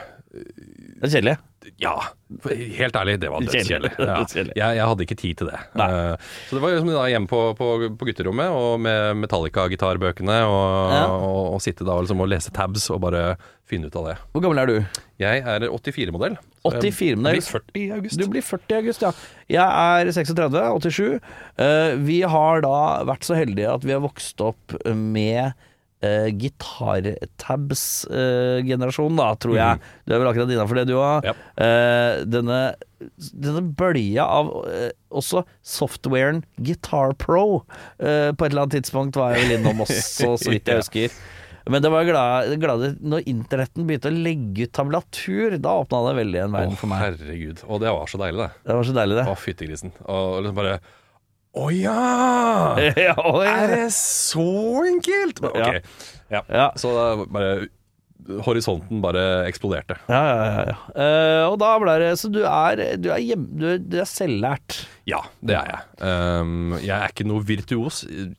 Speaker 2: Det er kjedelig.
Speaker 3: ja. for Helt ærlig, det var dødskjedelig.
Speaker 2: Kjedelig.
Speaker 3: Ja.
Speaker 2: Dødskjedelig.
Speaker 3: Jeg, jeg hadde ikke tid til det.
Speaker 2: Nei.
Speaker 3: Eh, Så det var liksom da hjemme på, på, på gutterommet og med Metallica-gitarbøkene og,
Speaker 2: Ja.
Speaker 3: og, og sitte da og liksom og lese tabs og bare finne ut av det.
Speaker 2: Hvor gammel er du?
Speaker 3: Jeg er 84-modell.
Speaker 2: 84, men det er-
Speaker 3: blir 40 i august.
Speaker 2: Du blir 40 i august, ja. Jeg er 36, 87. Eh, vi har da vært så heldige at vi har vokst opp med eh, gitartabs-generasjon, da, tror jeg. Du er vel akkurat innafor det, du òg.
Speaker 3: Mhm. Ja.
Speaker 2: Eh, denne, denne bølja av eh, også softwaren Guitar Pro eh, på et eller annet tidspunkt var jeg vel innom også, så vidt jeg
Speaker 3: Ja.
Speaker 2: husker. Men det var glad, glad når internetten begynte å legge ut tablatur, da åpna det veldig en
Speaker 3: Å,
Speaker 2: verden for meg.
Speaker 3: herregud. Og det var så deilig, det.
Speaker 2: Det var så deilig, det.
Speaker 3: Å, fyttegrisen. Og liksom bare Å ja!
Speaker 2: ja, oi.
Speaker 3: Er det så enkelt? Men,
Speaker 2: Ja.
Speaker 3: Ok. Ja.
Speaker 2: Ja.
Speaker 3: Så da bare Horisonten bare eksploderte.
Speaker 2: Ja, ja, ja, ja. Eh, og da ble det Så du er, du er, hjem, du, er- du er selvlært.
Speaker 3: Ja, det er jeg. Um, jeg er ikke noe virtuos i-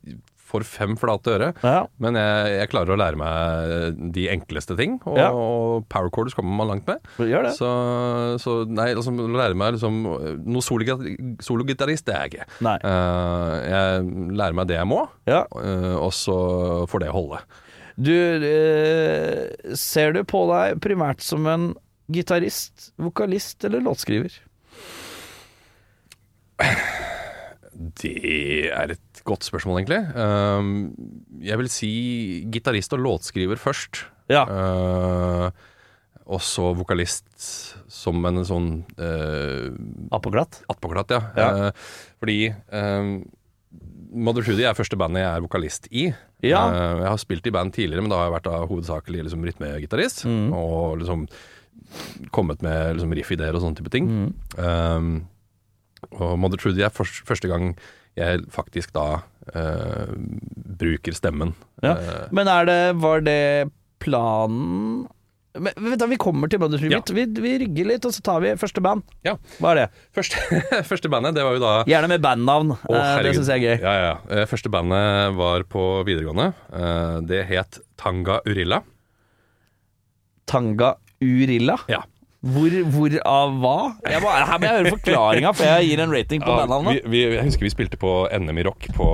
Speaker 3: for fem flate øre,
Speaker 2: Ja.
Speaker 3: men jeg, jeg klarer å lære meg de enkleste ting. Og,
Speaker 2: Ja.
Speaker 3: og power chords kommer man langt med.
Speaker 2: Gjør det.
Speaker 3: Så, så nei, liksom, å lære meg liksom, noe sologitar- sologitarist, det er jeg ikke.
Speaker 2: Nei.
Speaker 3: Eh, jeg lærer meg det jeg må,
Speaker 2: Ja.
Speaker 3: eh, og så får det holde.
Speaker 2: Du eh, Ser du på deg primært som en gitarist, vokalist eller låtskriver?
Speaker 3: Det er et godt spørsmål, egentlig. Um, jeg vil si gitarist og låtskriver først.
Speaker 2: Ja.
Speaker 3: Eh, og så vokalist som en sånn uh,
Speaker 2: Appåglatt?
Speaker 3: attpåklatt, ja.
Speaker 2: Ja.
Speaker 3: Eh, fordi um, Mother Trudy er første bandet jeg er vokalist i.
Speaker 2: Ja.
Speaker 3: Eh, jeg har spilt i band tidligere, men da har jeg vært da, hovedsakelig liksom, rytmegitarist.
Speaker 2: Mm.
Speaker 3: Og liksom kommet med liksom, riff-ideer og sånne type ting.
Speaker 2: Mm.
Speaker 3: Um, og Mother Trudy er først- første gang jeg faktisk da eh, bruker stemmen.
Speaker 2: Ja.
Speaker 3: Eh,
Speaker 2: Men er det Var det planen men, Vent, da, vi kommer til Mother Tribute. Vi, vi rygger litt, og så tar vi første band.
Speaker 3: ja.
Speaker 2: Hva er det?
Speaker 3: Første, første bandet, det var jo da
Speaker 2: Gjerne med bandnavn. Eh,
Speaker 3: Å,
Speaker 2: det
Speaker 3: herregud.
Speaker 2: syns jeg er gøy.
Speaker 3: Ja, ja, ja. Eh, Første bandet var på videregående. Eh, Det het Tanga Urilla.
Speaker 2: Tanga Urilla.
Speaker 3: Ja.
Speaker 2: Hvor, hvor av hva? Jeg må, her må jeg høre forklaringa før jeg gir en rating på
Speaker 3: vi,
Speaker 2: bandnavnet.
Speaker 3: vi, jeg husker vi spilte på NM i rock på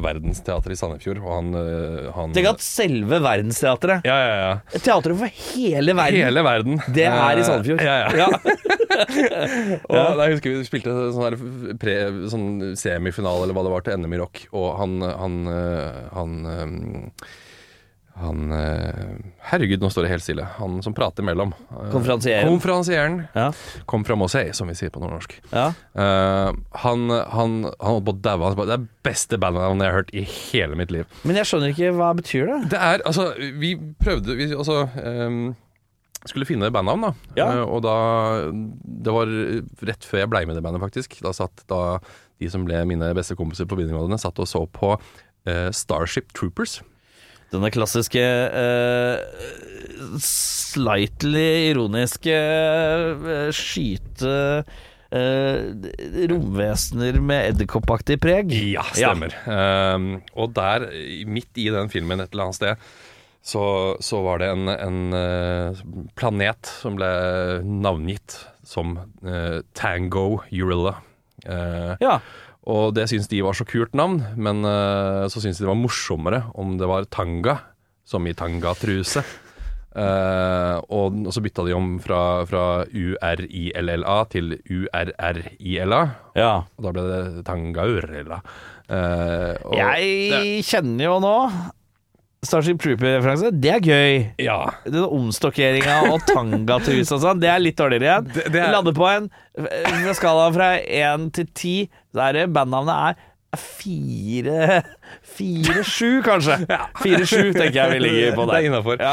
Speaker 3: Verdensteatret i Sandefjord, og han, eh, han
Speaker 2: Tenk at selve verdensteatret
Speaker 3: Ja, ja, ja.
Speaker 2: Teatret for hele verden
Speaker 3: Hele verden.
Speaker 2: Det er i Sandefjord
Speaker 3: Eh, Ja, ja.
Speaker 2: Ja.
Speaker 3: Og da jeg husker vi spilte sånn, her pre, sånn semifinale eller hva det var til NM i rock, og han Han, eh, han, eh, han eh, Herregud, nå står det helt stille. Han som prater imellom. Eh,
Speaker 2: Konferansieren.
Speaker 3: Konferansieren.
Speaker 2: Ja.
Speaker 3: Kom fra Mosei, som vi sier på nordnorsk.
Speaker 2: Ja.
Speaker 3: Eh, han, han, han holdt på å daue. Han sa, Det er beste bandnavnet jeg har hørt i hele mitt liv.
Speaker 2: Men jeg skjønner ikke hva betyr det
Speaker 3: Det er, altså, vi prøvde Vi altså, ehm, skulle finne bandnavn, da.
Speaker 2: Ja.
Speaker 3: Eh, og da Det var rett før jeg blei med i det bandet, faktisk. Da satt da de som ble mine beste kompiser på videregående, satt og så på eh, Starship Troopers.
Speaker 2: Denne klassiske eh, Slightly ironiske eh, Skyte eh, Romvesener med edderkoppaktig preg
Speaker 3: Ja, stemmer. Ehm, og der, i- midt i den filmen et eller annet sted, så, så var det en, en eh, planet som ble navngitt som eh, Tango Urilla. Eh,
Speaker 2: Ja,
Speaker 3: Og det syns de var så kult navn, men eh, så syns de det var morsommere om det var tanga, som i tangatruse. Eh, og, og så bytta de om fra, fra URILLA til URRILA,
Speaker 2: ja.
Speaker 3: og da ble det tangaurilla. Eh, og- det-
Speaker 2: Jeg kjenner jo nå Starship Trooper-referanse Det er gøy
Speaker 3: Ja.
Speaker 2: Den omstokkeringa og tangatruse og sånn, det er litt dårligere igjen.
Speaker 3: Det- det er-
Speaker 2: Lander på en fra skalaen fra én til ti, så er det bandnavnet er fire Fire-sju, kanskje. Fire-sju tenker jeg vi ligger på
Speaker 3: Det er
Speaker 2: der.
Speaker 3: innafor.
Speaker 2: Ja.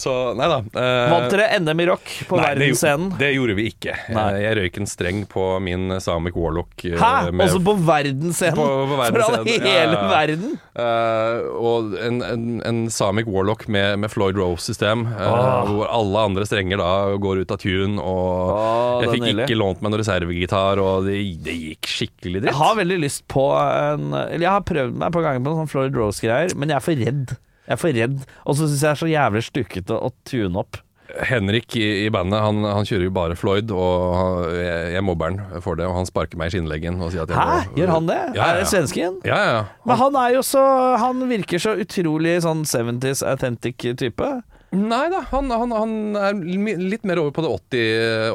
Speaker 3: så nei da. eh,
Speaker 2: Vant dere NM i rock på
Speaker 3: nei, det
Speaker 2: verdensscenen?
Speaker 3: gjorde- Det gjorde vi ikke.
Speaker 2: Nei.
Speaker 3: Eh, Jeg røyk en streng på min Samic Warlock. eh,
Speaker 2: Hæ? Altså-
Speaker 3: med-
Speaker 2: Også på verdensscenen?
Speaker 3: På- på
Speaker 2: Fra
Speaker 3: verdensscenen,
Speaker 2: hele
Speaker 3: ja, ja, ja.
Speaker 2: verden?
Speaker 3: Eh, og en, en, en Samic Warlock med, med Floyd Rose-system, eh,
Speaker 2: Ah.
Speaker 3: hvor alle andre strenger da går ut av tune,
Speaker 2: Åh,
Speaker 3: og
Speaker 2: Ah, det
Speaker 3: jeg
Speaker 2: er
Speaker 3: fikk
Speaker 2: nydelig.
Speaker 3: ikke lånt meg noen reservegitar, og det, det gikk skikkelig
Speaker 2: Jeg
Speaker 3: dritt.
Speaker 2: har veldig lyst på en Eller jeg har prøvd meg på ganger på sånn Floyd Rose-greier, men jeg er for redd. Jeg er for redd, og så syns jeg det er så jævlig stukkete å tune opp.
Speaker 3: Henrik i, i bandet, han, han kjører jo bare Floyd, og han, jeg, jeg mobber han for det, og han sparker meg i skinnleggen og sier at jeg
Speaker 2: Hæ,
Speaker 3: må-
Speaker 2: gjør han det?
Speaker 3: Ja,
Speaker 2: Er
Speaker 3: ja,
Speaker 2: det
Speaker 3: ja.
Speaker 2: svensken?
Speaker 3: Ja, ja, ja.
Speaker 2: Men han er jo så Han virker så utrolig sånn 70s authentic type.
Speaker 3: Nei da, han, han, han er mi- litt mer over på det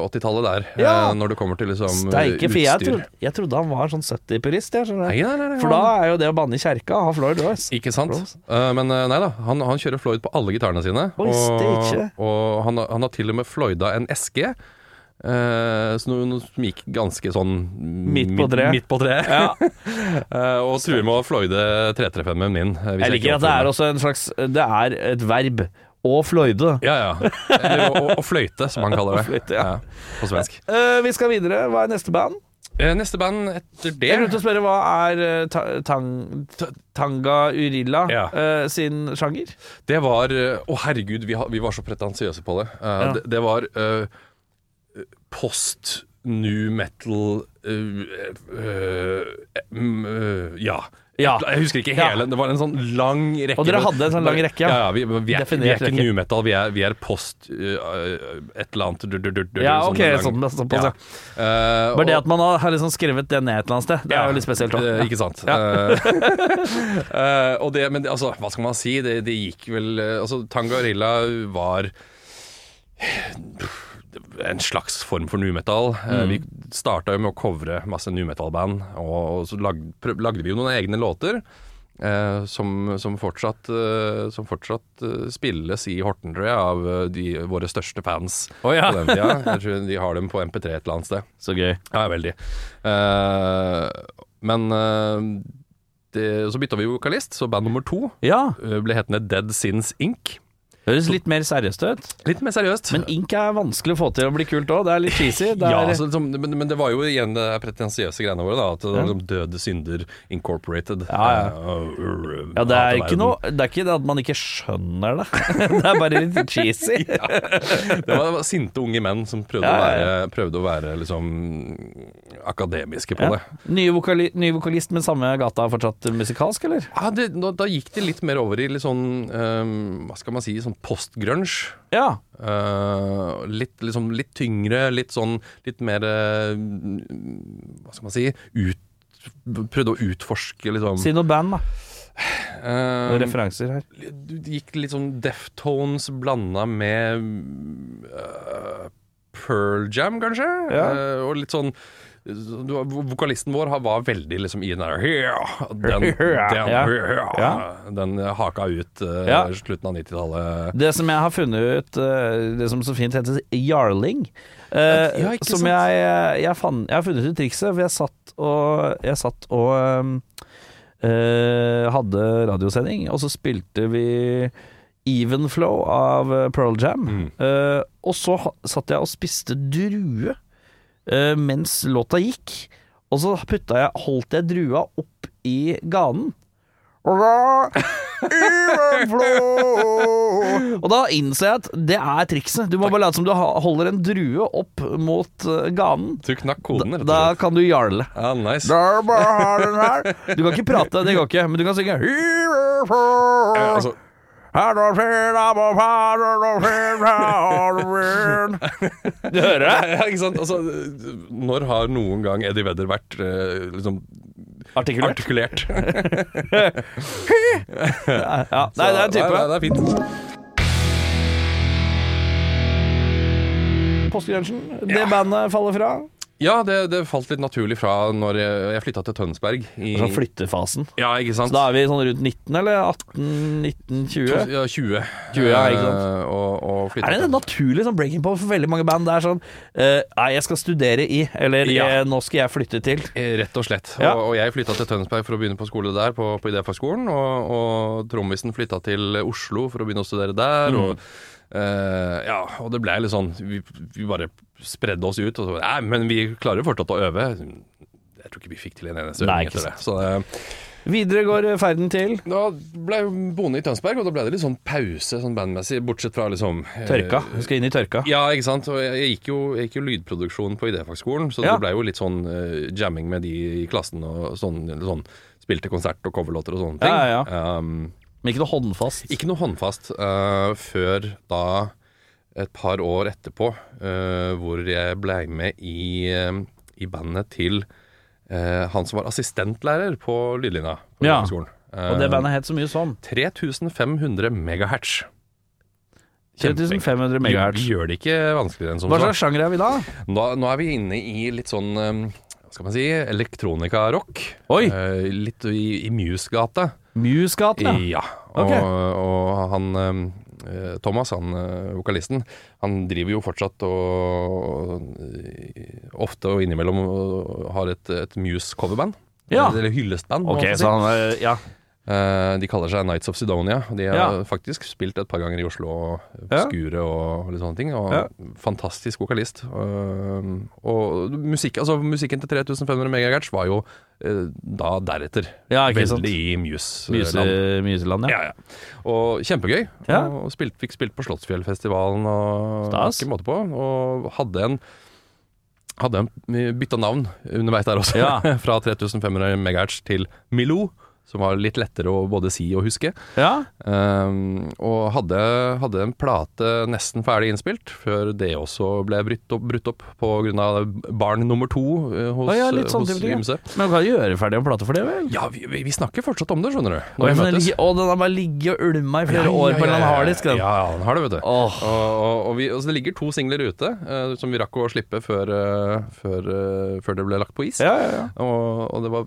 Speaker 3: 80 80-tallet der,
Speaker 2: Ja.
Speaker 3: eh, når det kommer til liksom eh,
Speaker 2: Steike, for jeg
Speaker 3: utstyr.
Speaker 2: trodde, jeg trodde han var en sånn 70-purist, jeg skjønner.
Speaker 3: Nei, nei, nei, nei,
Speaker 2: For da er jo det å banne i kjerka å ha Floyd Rose.
Speaker 3: Ikke sant?
Speaker 2: Rose.
Speaker 3: Eh, men eh, nei da, han, han kjører Floyd på alle gitarene sine.
Speaker 2: Oi,
Speaker 3: og
Speaker 2: steike.
Speaker 3: og han, har- han har til og med Floyda en SG. eh, så noe, noe som gikk ganske sånn
Speaker 2: Midt på treet.
Speaker 3: Midt på treet.
Speaker 2: Ja.
Speaker 3: Eh, og truer med å floyde 335-en min. eh, hvis
Speaker 2: Jeg
Speaker 3: ikke
Speaker 2: liker at det er
Speaker 3: oppfører meg.
Speaker 2: også en slags Det er et verb. Å fløyde.
Speaker 3: Ja, ja. Eller, og, og fløyte, som han kaller det.
Speaker 2: Fløyte, ja.
Speaker 3: på svensk.
Speaker 2: Eh, vi skal videre. Hva er neste band?
Speaker 3: Eh, neste band etter
Speaker 2: Jeg glemte
Speaker 3: det
Speaker 2: å spørre hva er eh, ta tang ta Tanga Urilla
Speaker 3: Ja.
Speaker 2: eh, sin sjanger?
Speaker 3: Det var eh, Å, herregud, vi, har- vi var så pretensiøse på det. Eh, det. Det var eh, post new metal eh, eh, mm, eh, Ja.
Speaker 2: Ja.
Speaker 3: Jeg husker ikke
Speaker 2: Ja.
Speaker 3: hele. Det var en sånn lang rekke.
Speaker 2: Og dere hadde en sånn lang rekke, ja.
Speaker 3: ja. ja, vi, vi, er, vi
Speaker 2: Definert
Speaker 3: er ikke
Speaker 2: rekke.
Speaker 3: new metal, vi er, vi er post eh, eh, et eller annet du, du, du, du,
Speaker 2: Ja,
Speaker 3: sånn
Speaker 2: ok,
Speaker 3: lang-
Speaker 2: sånn, såpass, ja.
Speaker 3: Eh, og-
Speaker 2: Bare det at man har, har liksom skrevet det ned et eller annet sted, det er jo litt spesielt.
Speaker 3: eh,
Speaker 2: også.
Speaker 3: Ikke sant. Eh, eh, og det, men det, altså, hva skal man si? Det, det gikk vel eh, Altså, Tangarilla var eh, en slags form for nu-metal.
Speaker 2: Mm.
Speaker 3: Eh, Vi starta jo med å covre masse nu-metal-band, og, og så lag, prøv, lagde vi jo noen egne låter. eh, som, som fortsatt, eh, som fortsatt eh, spilles i Horten, tror jeg, av eh, de, våre største fans
Speaker 2: Å, ja.
Speaker 3: på den tida. Jeg tror de har dem på MP3 et eller annet sted.
Speaker 2: Så gøy.
Speaker 3: Ja, veldig. Eh, men eh, det, så bytta vi vokalist, så band nummer to
Speaker 2: Ja.
Speaker 3: eh, ble hetende Dead Sins Inc.
Speaker 2: Høres litt mer seriøst ut.
Speaker 3: Litt mer seriøst.
Speaker 2: Men ink er vanskelig å få til å bli kult òg. Det er litt cheesy. Det
Speaker 3: ja,
Speaker 2: er,
Speaker 3: altså, liksom, men, men det var jo igjen det pretensiøse greiene våre. da At det var liksom Døde synder incorporated.
Speaker 2: Ja, ja.
Speaker 3: Eh, og- og-
Speaker 2: Ja, det er
Speaker 3: hater
Speaker 2: ikke
Speaker 3: verden.
Speaker 2: noe Det er ikke det at man ikke skjønner det. Det er bare litt cheesy.
Speaker 3: Det var, det var sinte unge menn som prøvde,
Speaker 2: Ja,
Speaker 3: Å,
Speaker 2: ja,
Speaker 3: være, prøvde å være liksom akademiske på det.
Speaker 2: Ny, vokali ny vokalist med samme gata fortsatt musikalsk, eller?
Speaker 3: Ja, det, da, da gikk det litt mer over i litt sånn eh, Hva skal man si, sånn postgrunge.
Speaker 2: Ja.
Speaker 3: Eh, litt, liksom, litt tyngre, litt sånn Litt mer eh, Hva skal man si? Ut, prøvde å utforske, liksom.
Speaker 2: Si noe band, da.
Speaker 3: Eh,
Speaker 2: Noen referanser her.
Speaker 3: du gikk litt sånn Deftones blanda med eh, Pearl Jam, kanskje?
Speaker 2: Ja.
Speaker 3: Eh, og litt sånn du, har- Vokalisten vår har- var veldig liksom i den der «Yeah», Den, den,
Speaker 2: Ja.
Speaker 3: «Yeah», den haka ut eh,
Speaker 2: Ja.
Speaker 3: slutten av 90-tallet.
Speaker 2: Det som jeg har funnet ut, eh, det som så fint heter jarling eh,
Speaker 3: Ja, ikke
Speaker 2: Som
Speaker 3: sant?
Speaker 2: jeg, eh, jeg, fant, jeg har funnet ut trikset, for jeg satt og, jeg satt og um, eh, hadde radiosending, og så spilte vi Even Flow av eh, Pearl Jam.
Speaker 3: Mm.
Speaker 2: Eh, og så ha- satt jeg og spiste drue eh, mens låta gikk, og så putta jeg, holdt jeg drua opp i ganen. Og da- Even Flow. Og da innså jeg at det er trikset. Du må bare late som du ha- holder en drue opp mot eh, ganen.
Speaker 3: Du knakk koden, rett og
Speaker 2: Da
Speaker 3: slett.
Speaker 2: kan du jarle.
Speaker 3: Ja, nice.
Speaker 2: Da bare har du den her. Du kan ikke prate, det går ikke, men du kan synge Even Flow.
Speaker 3: Eh, altså,
Speaker 2: Her og fjell, her og fjell, her og fjell, her og fjell. Du hører det?
Speaker 3: Ja, ikke sant? Altså, når har noen gang Eddie Vedder vært eh, liksom
Speaker 2: Artikulert.
Speaker 3: artikulert?
Speaker 2: Ja, nei, det er en
Speaker 3: Nei,
Speaker 2: type.
Speaker 3: nei, det er fint.
Speaker 2: Påskelunsjen. Det bandet faller fra.
Speaker 3: Ja, det, det falt litt naturlig fra når jeg, jeg flytta til Tønsberg. I,
Speaker 2: Sånn flyttefasen.
Speaker 3: ja, ikke sant?
Speaker 2: Så da er vi sånn rundt 19, eller 18, 19, 20.
Speaker 3: ja, 20.
Speaker 2: 20, ja, ikke sant?
Speaker 3: Eh, Og, og flyttet
Speaker 2: Er det en naturlig sånn breaking point for veldig mange band? Det er sånn eh, Nei, jeg skal studere i, eller
Speaker 3: Ja.
Speaker 2: eh, nå skal jeg flytte til.
Speaker 3: Eh, Rett og slett.
Speaker 2: Ja.
Speaker 3: Og, og jeg flytta til Tønsberg for å begynne på skole der, på, på idéfagskolen. Og, og trommisen flytta til Oslo for å begynne å studere
Speaker 2: Mm.
Speaker 3: der. Og, eh, ja, og det ble litt sånn Vi, vi bare spredde oss ut. Og så, nei, men vi klarer fortsatt å øve. Jeg tror ikke vi fikk til en eneste
Speaker 2: Nei,
Speaker 3: øving
Speaker 2: ikke
Speaker 3: etter det. Så det
Speaker 2: Videre går eh, ferden til
Speaker 3: da ble jeg boende i Tønsberg, og da ble det litt sånn pause sånn bandmessig, bortsett fra liksom eh,
Speaker 2: tørka. Du skal inn i tørka.
Speaker 3: Ja, ikke sant. Og jeg, jeg, gikk, jo, jeg gikk jo lydproduksjon på idéfagskolen, så
Speaker 2: Ja.
Speaker 3: det ble jo litt sånn eh, jamming med de i klassen og sånn. sånn spilte konsert og coverlåter og sånne ting.
Speaker 2: Ja, ja,
Speaker 3: Um,
Speaker 2: Men ikke noe håndfast.
Speaker 3: ikke noe håndfast eh, før da et par år etterpå, eh, hvor jeg blei med i, eh, i bandet til eh, han som var assistentlærer på lydlinja på Eh,
Speaker 2: Ja.
Speaker 3: idéfagskolen.
Speaker 2: Og det bandet het så mye sånn.
Speaker 3: 3500 megahertz. Kjempe-
Speaker 2: 3500 megahertz.
Speaker 3: Vi gjør det ikke vanskeligere enn som
Speaker 2: Hva
Speaker 3: så.
Speaker 2: slags sjanger er vi da?
Speaker 3: Nå, nå er vi inne i litt sånn eh, hva skal man si elektronika-rock.
Speaker 2: Oi.
Speaker 3: Eh, litt i, i Muse-gata.
Speaker 2: Musegata.
Speaker 3: Ja. Og,
Speaker 2: Ok.
Speaker 3: og han eh, Thomas, han eh, vokalisten, han driver jo fortsatt og, og ofte og innimellom og har et, et Muse-coverband.
Speaker 2: Ja.
Speaker 3: Eller hyllestband. må
Speaker 2: Ok,
Speaker 3: man si.
Speaker 2: så han eh, Ja.
Speaker 3: Eh, de kaller seg Nights of Sidonia. og De har
Speaker 2: Ja.
Speaker 3: faktisk spilt et par ganger i Oslo, og
Speaker 2: Ja.
Speaker 3: Skure og litt sånne ting. Og
Speaker 2: Ja.
Speaker 3: Fantastisk vokalist. Eh, og musikk, altså, musikken til 3500 megahertz var jo eh, da deretter.
Speaker 2: Ja, ikke
Speaker 3: Veldig
Speaker 2: sant.
Speaker 3: i Muse-land.
Speaker 2: Myse- Myseland, ja.
Speaker 3: Ja, ja. Og kjempegøy.
Speaker 2: Ja.
Speaker 3: Og spilt, fikk spilt på Slottsfjellfestivalen og
Speaker 2: Stas.
Speaker 3: ikke måte på. Og hadde en hadde en bytta navn underveis der også.
Speaker 2: Ja.
Speaker 3: Fra 3500 MHz til Milou, som var litt lettere å både si og huske.
Speaker 2: ja.
Speaker 3: Ehm, og hadde, hadde en plate nesten ferdig innspilt, før det også ble brutt opp, brutt opp på grunn av barn nummer to eh, hos,
Speaker 2: Å ja, litt sånn
Speaker 3: hos
Speaker 2: type ting, ja.
Speaker 3: Ymse.
Speaker 2: Men du kan gjøre ferdig en plate for det, vel?
Speaker 3: Ja, vi, vi- vi snakker fortsatt om det, skjønner du.
Speaker 2: Og
Speaker 3: Når vi
Speaker 2: den,
Speaker 3: møtes.
Speaker 2: ligger- å, den har bare ligget og ulma i flere
Speaker 3: Ja, ja,
Speaker 2: år på en eller
Speaker 3: ja,
Speaker 2: annen
Speaker 3: ja,
Speaker 2: harddisk. den.
Speaker 3: Ja, ja, den har det, vet du.
Speaker 2: Åh.
Speaker 3: Og, og, og vi, altså, det ligger to singler ute eh, som vi rakk å slippe før, eh, før, eh, før det ble lagt på is.
Speaker 2: Ja, ja, ja.
Speaker 3: Og, og det var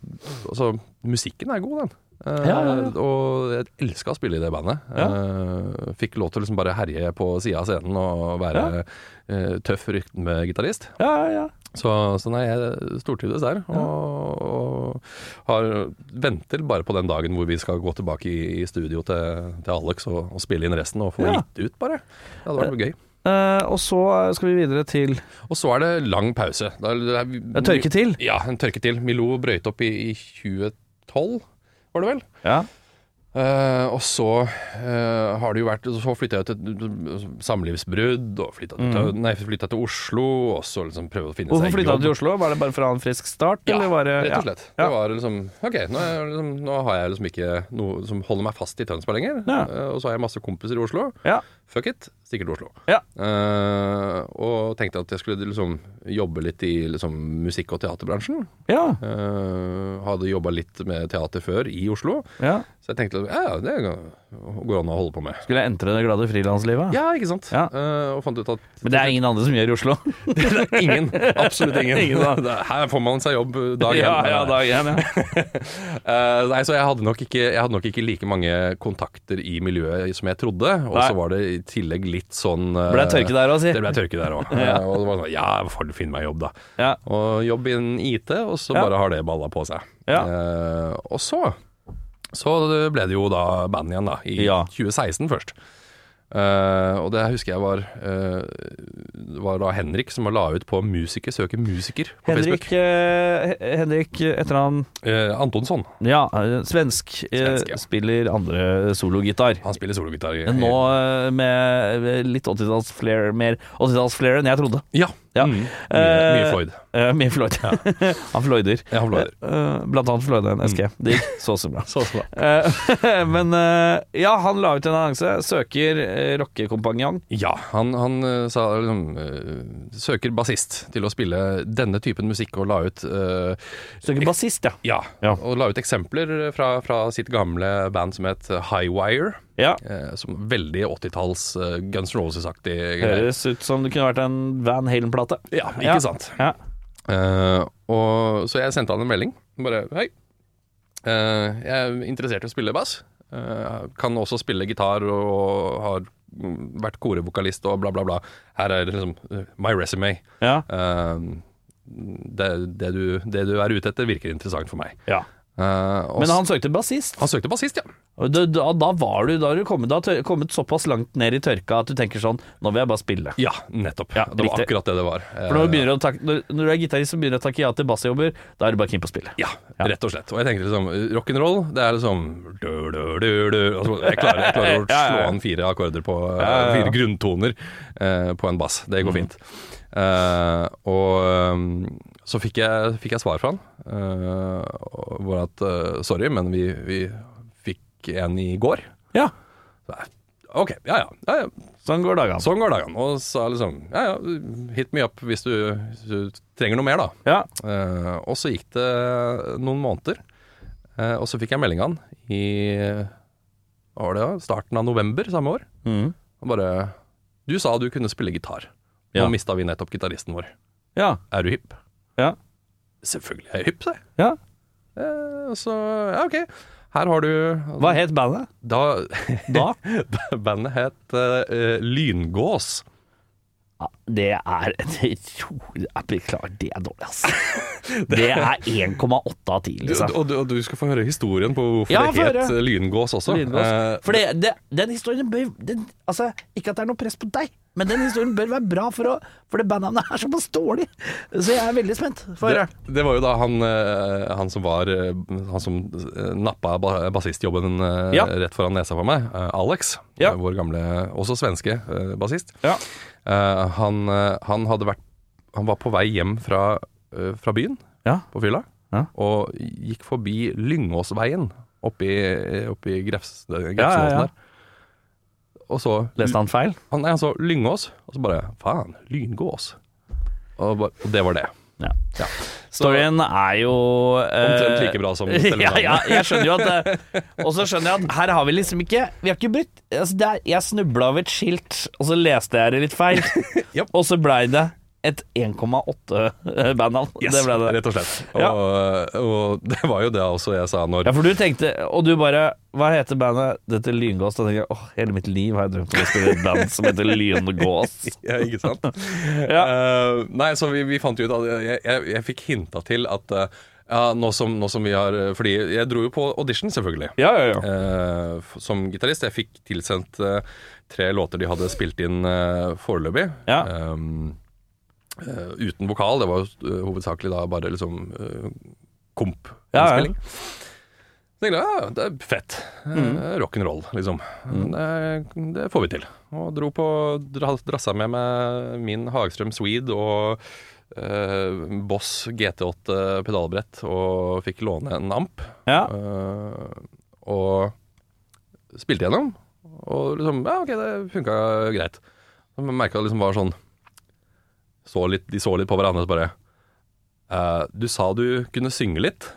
Speaker 3: Altså, musikken er god, den. Eh,
Speaker 2: Ja, ja, ja.
Speaker 3: Og jeg elska å spille i det bandet. Eh, fikk lov til å liksom bare herje på sida av scenen og være eh, tøff rytmegitarist.
Speaker 2: ja, ja, ja.
Speaker 3: Så, så nei, jeg stortrives der. Og, og har, venter bare på den dagen hvor vi skal gå tilbake i, i studio til, til Alex og, og spille inn resten og få
Speaker 2: Ja.
Speaker 3: gitt ut, bare. Det hadde vært gøy.
Speaker 2: Eh, og så eh, skal vi videre til
Speaker 3: Og så er det lang pause. Da, det er,
Speaker 2: En tørke til.
Speaker 3: Ja, en tørke til. Milou brøyt opp i, i 2012, var det vel?
Speaker 2: Ja.
Speaker 3: Eh, og så eh, har det jo vært Så flytta jeg til samlivsbrudd, og flytta til, nei, flyttet til Oslo, og så liksom prøve å finne
Speaker 2: Mm. Hvorfor
Speaker 3: seg
Speaker 2: flytta
Speaker 3: jobb.
Speaker 2: du til Oslo? Var det bare for å ha en frisk start?
Speaker 3: Ja,
Speaker 2: eller var det,
Speaker 3: rett og slett.
Speaker 2: Eh, Ja.
Speaker 3: Det var liksom Ok, nå, er jeg liksom, nå har jeg liksom ikke noe som holder meg fast i Tønsberg lenger.
Speaker 2: Ja.
Speaker 3: eh, Og så har jeg masse kompiser i Oslo.
Speaker 2: Ja.
Speaker 3: Fuck it, stikker til Oslo.
Speaker 2: Ja.
Speaker 3: Eh, og tenkte at jeg skulle liksom jobbe litt i liksom, musikk- og teaterbransjen.
Speaker 2: Ja.
Speaker 3: Eh, hadde jobba litt med teater før i Oslo,
Speaker 2: ja.
Speaker 3: så jeg tenkte at ja, ja, det går an å holde på med.
Speaker 2: Skulle jeg entre det glade frilanslivet?
Speaker 3: Ja, ikke sant?
Speaker 2: Ja.
Speaker 3: Eh, og fant ut at
Speaker 2: Men det er ingen andre som gjør i Oslo.
Speaker 3: ingen. Absolutt ingen.
Speaker 2: Ingen, da.
Speaker 3: Det- Her får man seg jobb dag én.
Speaker 2: igjen, ja.
Speaker 3: Eh, nei, så jeg hadde, nok ikke, jeg hadde nok ikke like mange kontakter i miljøet som jeg trodde. Og
Speaker 2: Nei.
Speaker 3: så var det i tillegg litt sånn eh,
Speaker 2: Ble det tørke der òg, si.
Speaker 3: Det ble tørke der òg. Og det var sånn Ja, får finne meg jobb, da.
Speaker 2: Ja.
Speaker 3: Og jobb innen IT, og så
Speaker 2: Ja.
Speaker 3: bare har det balla på seg.
Speaker 2: Ja.
Speaker 3: Eh, og så Så ble det jo da band igjen, da. I
Speaker 2: Ja.
Speaker 3: 2016 først. Eh, og det husker jeg var eh, Det var da Henrik som la ut på 'Musiker søker musiker' på
Speaker 2: Henrik,
Speaker 3: Facebook.
Speaker 2: eh, He- Henrik eh, etter han
Speaker 3: Eh, Antonsson.
Speaker 2: Ja, eh, svensk. eh,
Speaker 3: Svensk, ja. Ah,
Speaker 2: Spiller andre sologitar.
Speaker 3: Han spiller sologitar. i-
Speaker 2: Nå eh, med litt 80-tallsflair mer 80-tallsflair enn jeg trodde.
Speaker 3: Ja.
Speaker 2: Ja.
Speaker 3: Mm. Mye,
Speaker 2: Eh,
Speaker 3: mye Floyd.
Speaker 2: Eh, Med Floyd. han floyder.
Speaker 3: Ja, han Floyder.
Speaker 2: Eh, Blant annet floyda en SG. Mm. Det gikk så så bra.
Speaker 3: Så, så.
Speaker 2: Eh, Men eh, ja, han la ut en annonse. Søker eh, rockekompanjong.
Speaker 3: Ja, han, han eh, sa liksom eh, Søker bassist til å spille denne typen musikk, og la ut eh,
Speaker 2: Søker bassist, ja.
Speaker 3: ja,
Speaker 2: Ja.
Speaker 3: og la ut eksempler fra, fra sitt gamle band som het Highwire.
Speaker 2: ja.
Speaker 3: eh, Som veldig 80-talls eh, Guns N' Roses-aktig greie.
Speaker 2: Høres ut som det kunne vært en Van Halen-plate.
Speaker 3: Ja, ikke
Speaker 2: Ja.
Speaker 3: sant.
Speaker 2: Ja.
Speaker 3: Eh, og, så jeg sendte han en melding. Bare hei, eh, jeg er interessert i å spille bass. Eh, kan også spille gitar og, og har mm, vært korevokalist og bla, bla, bla. Her er liksom eh, my resume.
Speaker 2: Ja.
Speaker 3: Eh, det, det, du, det du er ute etter, virker interessant for meg.
Speaker 2: ja.
Speaker 3: Eh, og
Speaker 2: Men
Speaker 3: s-
Speaker 2: han søkte bassist.
Speaker 3: han søkte bassist, ja.
Speaker 2: Og Da, da, da var du, da har du kommet, da, har tør- kommet såpass langt ned i tørka at du tenker sånn Nå vil jeg bare spille.
Speaker 3: Ja, nettopp.
Speaker 2: Ja,
Speaker 3: det var
Speaker 2: riktig.
Speaker 3: akkurat det det var.
Speaker 2: For når du, begynner å takke, når, når du er gitarist og begynner å takke ja til bassjobber, da er du bare keen på å spille.
Speaker 3: Ja, rett og slett. Og jeg tenkte liksom rock'n'roll, det er liksom du, du, du, du. Altså, jeg, klarer, jeg klarer
Speaker 2: Ja, ja,
Speaker 3: å
Speaker 2: ja.
Speaker 3: slå an fire akkorder på
Speaker 2: ja, Mm. ja.
Speaker 3: Fire grunntoner eh, på en bass. Det går fint. Eh, og ehm, så fikk jeg, fikk jeg svar fra han. eh, og- hvor at eh, Sorry, men vi, vi fikk en i går.
Speaker 2: Ja,
Speaker 3: Så jeg, OK, ja ja. ja, ja.
Speaker 2: Sånn går dagene.
Speaker 3: Sånn går dagene. Og sa liksom ja ja, hit me up hvis du, hvis du trenger noe mer, da.
Speaker 2: Ja.
Speaker 3: Eh, og så gikk det noen måneder, eh, og så fikk jeg melding av han i hva var det, da? starten av november samme år.
Speaker 2: Mm.
Speaker 3: Og bare Du sa du kunne spille gitar. Nå
Speaker 2: Ja.
Speaker 3: mista vi nettopp gitaristen vår.
Speaker 2: Ja.
Speaker 3: Er du hypp?
Speaker 2: Ja.
Speaker 3: Selvfølgelig er jeg hypp, sa jeg.
Speaker 2: ja.
Speaker 3: Eh, Så ja, ok. Her har du
Speaker 2: Hva het bandet
Speaker 3: Da
Speaker 2: da?
Speaker 3: Bandet het eh, Lyngås.
Speaker 2: Ja, det er det er- Beklager, det er dårlig, altså. Det er 1,8 av 10,
Speaker 3: Du,
Speaker 2: liksom.
Speaker 3: og, du, og du skal få høre historien på hvorfor
Speaker 2: Ja, få
Speaker 3: det het
Speaker 2: høre.
Speaker 3: Lyngås også.
Speaker 2: Lydløs.
Speaker 3: Eh,
Speaker 2: For det, det, den historien bør den, Altså, ikke at det er noe press på deg, men den historien bør være bra, for, å, for det bandnavnet er såpass dårlig. Så jeg er veldig spent. Få høre.
Speaker 3: det, det var jo da han, eh, han som var eh, Han som eh, nappa ba- bassistjobben eh,
Speaker 2: Ja.
Speaker 3: rett foran nesa for meg, eh, Alex,
Speaker 2: Ja.
Speaker 3: eh, vår gamle, også svenske eh, bassist,
Speaker 2: Ja.
Speaker 3: Eh, han, eh, han hadde vært Han var på vei hjem fra, eh, fra byen
Speaker 2: Ja.
Speaker 3: på fylla,
Speaker 2: Ja.
Speaker 3: og gikk forbi Lyngåsveien oppi, oppi Grefs, Grefsenåsen
Speaker 2: ja, ja.
Speaker 3: der. Og så
Speaker 2: Leste han feil?
Speaker 3: han, nei, han så lyngås, og så bare faen, lyngås. Og, bare, og det var det.
Speaker 2: Ja. Storyen er jo eh,
Speaker 3: Omtrent like bra som selve
Speaker 2: ja, ja,
Speaker 3: navnet.
Speaker 2: jeg skjønner jo at eh, Og så skjønner jeg at her har vi liksom ikke Vi har ikke brytt altså det er, Jeg snubla over et skilt, og så leste jeg det litt feil.
Speaker 3: Japp.
Speaker 2: Og så blei det et 1,8-bandnavn. Det ble det.
Speaker 3: Rett og slett. Og, eh,
Speaker 2: Ja.
Speaker 3: og det var jo det også jeg sa når
Speaker 2: Ja, for du tenkte, og du bare Hva heter bandet? Dette er Lyngås. Da tenker jeg åh, hele mitt liv har jeg drømt om å spille i et band som heter Lyngås.
Speaker 3: Ja, ikke sant? Eh, nei, så vi, vi fant jo ut at jeg, jeg, jeg fikk hinta til at eh, ja, nå som, nå som vi har eh, Fordi jeg dro jo på audition, selvfølgelig.
Speaker 2: Ja, ja, ja.
Speaker 3: Eh, f- som gitarist. Jeg fikk tilsendt eh, tre låter de hadde spilt inn eh, foreløpig.
Speaker 2: Ja.
Speaker 3: Eh, eh, uten vokal. Det var jo eh, hovedsakelig da bare liksom uh, komp.
Speaker 2: Ja, ja.
Speaker 3: innspilling. Så tenkte jeg ja, det er fett. Uh,
Speaker 2: Mm.
Speaker 3: Rock'n'roll, liksom. Det, det får vi til. Og dro på dra, Drassa med meg min Hagstrøm Swede og eh, Boss GT8 pedalbrett og fikk låne en amp.
Speaker 2: ja.
Speaker 3: Eh, og spilte gjennom. Og liksom Ja, OK, det funka greit. Men merka det liksom var sånn så litt, De så litt på hverandre og så bare eh, Du sa du kunne synge litt.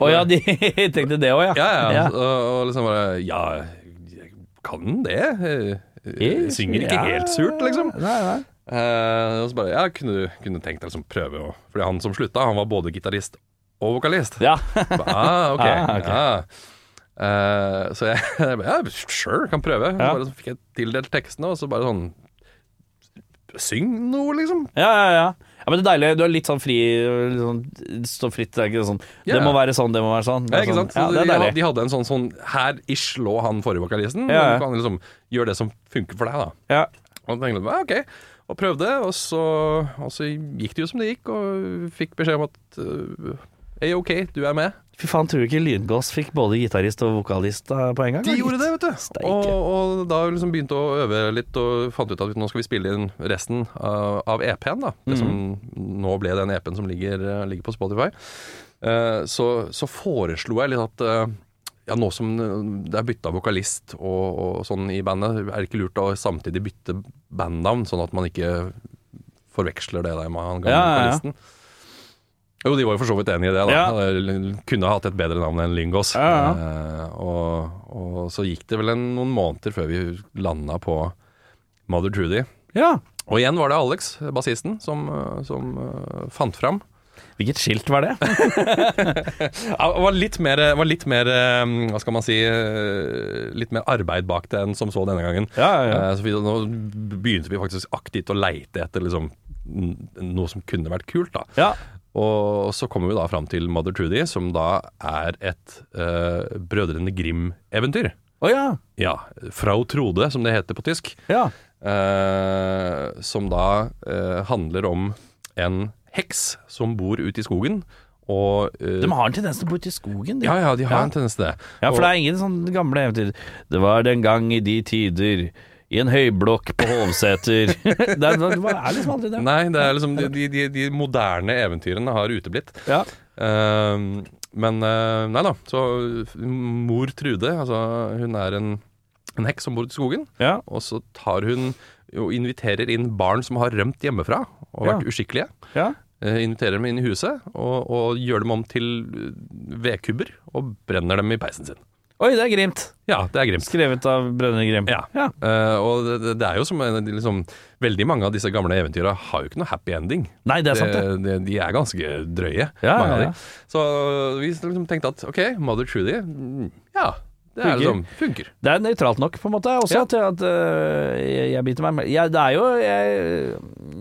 Speaker 2: Å ja, de tenkte det òg, ja.
Speaker 3: Ja, ja.
Speaker 2: Ja.
Speaker 3: Og, og liksom bare Ja, jeg kan det. Jeg, jeg synger ikke
Speaker 2: Ja.
Speaker 3: helt surt, liksom.
Speaker 2: Nei, nei.
Speaker 3: Eh, og så bare Ja, kunne du kunne tenkt deg liksom prøve å Fordi han som slutta, han var både gitarist og vokalist.
Speaker 2: Ja.
Speaker 3: Ah, ok.
Speaker 2: Ah, ok.
Speaker 3: Ja. Eh, så jeg, jeg bare, ja, sure, kan prøve. Så
Speaker 2: Ja.
Speaker 3: bare så fikk jeg tildelt tekstene, og så bare sånn Syng noe, liksom.
Speaker 2: Ja, ja, ja. ja men det er deilig. Du er litt sånn fri, litt sånn- stå fritt. Det er ikke sånn
Speaker 3: Ja.
Speaker 2: Det må være sånn, det må være sånn.
Speaker 3: Ja, ikke sant? Så
Speaker 2: Ja, det er
Speaker 3: de,
Speaker 2: deilig.
Speaker 3: de hadde en sånn sånn Her ish lå han forrige vokalisten.
Speaker 2: Ja, ja.
Speaker 3: men Du kan liksom gjøre det som funker for deg, da.
Speaker 2: Ja.
Speaker 3: Og så tenkte jeg, «Ja, ok, og prøvde, og så, og så gikk det jo som det gikk, og fikk beskjed om at øh, Er jeg ok, du er med?
Speaker 2: Fy faen, tror du ikke Lyngås fikk både gitarist og vokalist eh, på en gang?
Speaker 3: De gjorde det, vet du.
Speaker 2: Steike.
Speaker 3: Og, og da liksom begynte å øve litt og fant ut at nå skal vi spille inn resten av, av EP-en. da Det som
Speaker 2: Mm.
Speaker 3: nå ble den EP-en som ligger, eh, ligger på Spotify. Eh, så, så foreslo jeg litt at eh, ja, nå som det er bytta vokalist og, og sånn i bandet, er det ikke lurt å samtidig bytte bandnavn, sånn at man ikke forveksler det der med han gamle
Speaker 2: Ja, ja, ja.
Speaker 3: vokalisten? Jo, de var jo for så vidt enig i det. da
Speaker 2: Ja.
Speaker 3: Eller Kunne hatt et bedre navn enn Lyngås.
Speaker 2: Ja, ja.
Speaker 3: Eh, og, og så gikk det vel en, noen måneder før vi landa på Mother Trudy.
Speaker 2: Ja.
Speaker 3: Og igjen var det Alex, bassisten, som, eh, som eh, fant fram.
Speaker 2: Hvilket skilt var det?
Speaker 3: Ja, det var litt mer, var litt mer eh, Hva skal man si eh, Litt mer arbeid bak det enn som så denne gangen.
Speaker 2: Ja, ja, ja.
Speaker 3: Eh, Så vi, nå begynte vi faktisk aktivt å leite etter liksom, n- noe som kunne vært kult. da
Speaker 2: Ja.
Speaker 3: Og så kommer vi da fram til Mother Trudy, som da er et eh, Brødrene Grim-eventyr.
Speaker 2: Å ja.
Speaker 3: Ja, Frau Trode, som det heter på tysk.
Speaker 2: Ja.
Speaker 3: Eh, som da eh, handler om en heks som bor ute i skogen. Og eh,
Speaker 2: De har en tendens til å bo ute i skogen. de.
Speaker 3: Ja, ja, de har en tendens til det.
Speaker 2: Ja, for
Speaker 3: Og-
Speaker 2: det er ingen sånne gamle eventyr. Det var den gang i de tider, i en høyblokk på Hovseter det, er, det er liksom aldri det.
Speaker 3: Nei, det er liksom de, de, de, de moderne eventyrene har uteblitt.
Speaker 2: Ja.
Speaker 3: Eh, men eh, nei da. Så mor Trude, altså hun er en, en heks som bor ute i skogen.
Speaker 2: Ja.
Speaker 3: Og så tar hun og inviterer inn barn som har rømt hjemmefra og
Speaker 2: Ja.
Speaker 3: vært uskikkelige.
Speaker 2: ja.
Speaker 3: Eh, inviterer dem inn i huset og, og gjør dem om til eh, vedkubber og brenner dem i peisen sin.
Speaker 2: Oi, det er Grimt.
Speaker 3: Ja, det er Grimt.
Speaker 2: Skrevet av Brønnøy Grim.
Speaker 3: Ja. Eh, og det, det er jo som en- liksom Veldig mange av disse gamle eventyra har jo ikke noe happy ending.
Speaker 2: Nei, det er sant, det.
Speaker 3: det, de er ganske drøye,
Speaker 2: Ja,
Speaker 3: mange av
Speaker 2: ja,
Speaker 3: de.
Speaker 2: ja.
Speaker 3: Så vi liksom tenkte at ok, Mother Trudy, mm, ja. Det er
Speaker 2: Funker.
Speaker 3: liksom Funker.
Speaker 2: Det er nøytralt nok, på en måte, også,
Speaker 3: Ja.
Speaker 2: til at øh, jeg, jeg biter meg mer- ja, Det er jo jeg,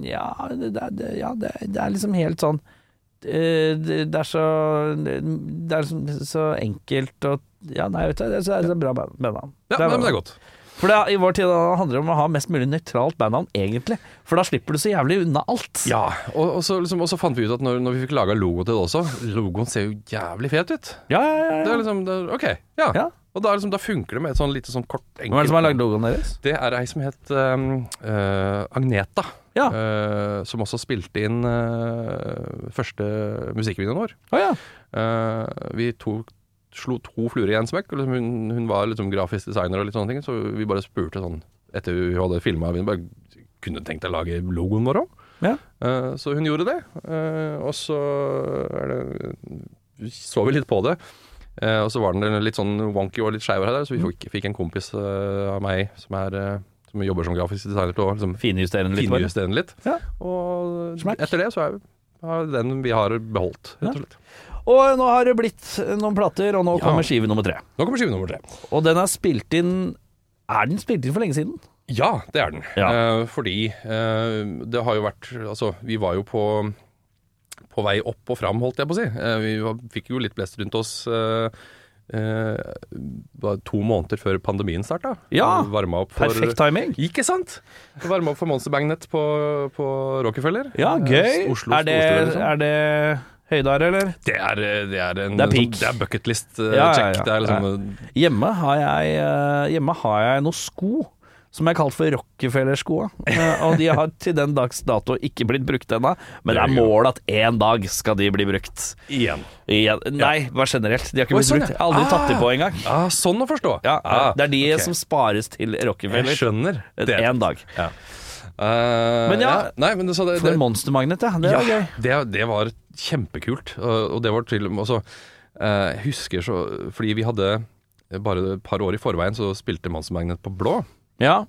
Speaker 2: Ja, det, det, er- ja det, det er liksom helt sånn øh, det, det er så Det er liksom så enkelt og Ja, nei, vet du, det, er- det er bra band- bandnavn. bra
Speaker 3: Ja, nei, men det
Speaker 2: bandnavn.
Speaker 3: er godt.
Speaker 2: For det, i vår tid da, handler det om å ha mest mulig nøytralt bandnavn, egentlig. For da slipper du så jævlig unna alt.
Speaker 3: Ja, og, og, så, liksom, og så fant vi ut at når, når vi fikk laga logo til det også Logoen ser jo jævlig fet ut.
Speaker 2: ja, ja, ja,
Speaker 3: Det
Speaker 2: ja.
Speaker 3: er liksom, det er, OK. Ja.
Speaker 2: Ja.
Speaker 3: Og da, er liksom, da funker det med et sånn lite sånn kort, enkelt
Speaker 2: Hvem er det som har lagd logoen deres?
Speaker 3: Det er ei som het ehm, eh, Agneta.
Speaker 2: Ja.
Speaker 3: eh, som også spilte inn eh, første musikkvideoen vår.
Speaker 2: Å ja.
Speaker 3: Eh, vi tok, slo to fluer i en smekk. og Liksom hun, hun var liksom grafisk designer og litt sånne ting, så vi bare spurte sånn etter vi hadde filma Vi bare kunne tenkt deg å lage logoen vår òg.
Speaker 2: Ja.
Speaker 3: så hun gjorde det. Eh, og så er det, så vi litt på det. Eh, og så var den litt sånn wonky og litt skeiv her, og der, så vi fikk, fikk en kompis eh, av meg som, er, eh, som jobber som grafisk designer, til å liksom
Speaker 2: Finjusterende litt. bare.
Speaker 3: finjustere den litt.
Speaker 2: Ja.
Speaker 3: Og
Speaker 2: Smack.
Speaker 3: etter det så er har den vi har beholdt, rett og slett.
Speaker 2: Og nå har det blitt noen plater, og nå
Speaker 3: Ja.
Speaker 2: kommer skive nummer tre.
Speaker 3: Nå kommer skive nummer tre.
Speaker 2: Og den er spilt inn Er den spilt inn for lenge siden?
Speaker 3: Ja, det er den.
Speaker 2: Ja.
Speaker 3: Eh, fordi eh, det har jo vært Altså, vi var jo på på vei opp og fram, holdt jeg på å si. Eh, vi var, fikk jo litt blest rundt oss eh, eh, bare to måneder før pandemien starta.
Speaker 2: Ja,
Speaker 3: Varma opp for
Speaker 2: Perfekt timing.
Speaker 3: Ikke sant? Varma opp for Monster Magnet på, på Rockefeller.
Speaker 2: Ja,
Speaker 3: Eh,
Speaker 2: gøy.
Speaker 3: Oslo,
Speaker 2: er, det,
Speaker 3: storstue, liksom.
Speaker 2: er det Høydare, eller?
Speaker 3: Det er, eh, det er en
Speaker 2: Det er peak.
Speaker 3: sånn- det er bucketlist-check.
Speaker 2: Ja, ja, ja.
Speaker 3: Det er liksom
Speaker 2: Hjemme har jeg, eh, hjemme har jeg noen sko som er kalt for Rockefeller-skoa. Eh, Og de har til den dags dato ikke blitt brukt ennå, men det er målet at en dag skal de bli brukt.
Speaker 3: eh, Igjen.
Speaker 2: Igjen. Nei, bare generelt. De har ikke
Speaker 3: Oi,
Speaker 2: blitt
Speaker 3: sånn, ja.
Speaker 2: brukt. Jeg har aldri tatt de
Speaker 3: Ah.
Speaker 2: på engang.
Speaker 3: Ah, sånn å forstå.
Speaker 2: Ja, eh,
Speaker 3: ah,
Speaker 2: det er de
Speaker 3: ok.
Speaker 2: som spares til
Speaker 3: Jeg
Speaker 2: Rockefeller
Speaker 3: skjønner.
Speaker 2: en dag.
Speaker 3: Eh,
Speaker 2: Men ja,
Speaker 3: nei, men så det,
Speaker 2: For
Speaker 3: det,
Speaker 2: en monstermagnet, ja. Det
Speaker 3: ja,
Speaker 2: er gøy.
Speaker 3: det, det var kjempekult. Og og det var til og med også eh, Jeg husker så Fordi vi hadde bare et par år i forveien så spilte Monster Magnet på blå.
Speaker 2: Ja.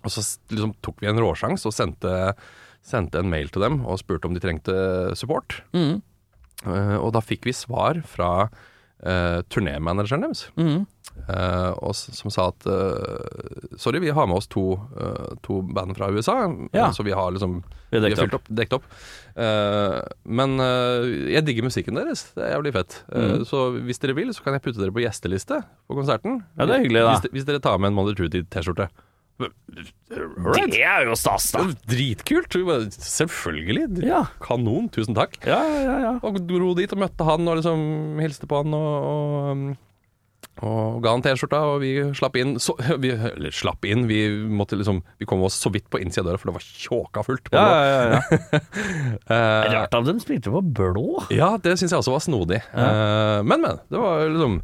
Speaker 3: Og så s- liksom tok vi en råsjans og sendte, sendte en mail til dem og spurte om de trengte support.
Speaker 2: Mm.
Speaker 3: Eh, og da fikk vi svar fra eh, turnémanageren deres,
Speaker 2: Mm.
Speaker 3: Eh, og, s- som sa at eh, sorry, vi har med oss to, eh, to band fra USA,
Speaker 2: Ja.
Speaker 3: eh, så vi har liksom
Speaker 2: Vi
Speaker 3: vi
Speaker 2: har
Speaker 3: har
Speaker 2: dekt
Speaker 3: fylt opp. Dekt opp. Eh, men eh, jeg digger musikken deres, det er jævlig fett. Eh,
Speaker 2: Mm.
Speaker 3: Så hvis dere vil, så kan jeg putte dere på gjesteliste på konserten.
Speaker 2: Ja, det er hyggelig, da.
Speaker 3: Hvis, de- hvis dere tar med en Mother Trudy-T-skjorte.
Speaker 2: Det er jo stas, da.
Speaker 3: Det var Dritkult! Vi bare, Selvfølgelig!
Speaker 2: Ja.
Speaker 3: Kanon, tusen takk.
Speaker 2: Ja, ja, ja.
Speaker 3: Og dro dit og møtte han og liksom hilste på han og, og, um, og ga han T-skjorta, og vi slapp inn så, vi, Eller slapp inn, vi måtte liksom Vi kom oss så vidt på innsida av døra, for det var tjåka fullt. på
Speaker 2: ja,
Speaker 3: blå.
Speaker 2: ja, ja.
Speaker 3: Eh,
Speaker 2: Rart at de spilte på blå.
Speaker 3: ja, det syns jeg også var snodig. Eh, men, men. Det var liksom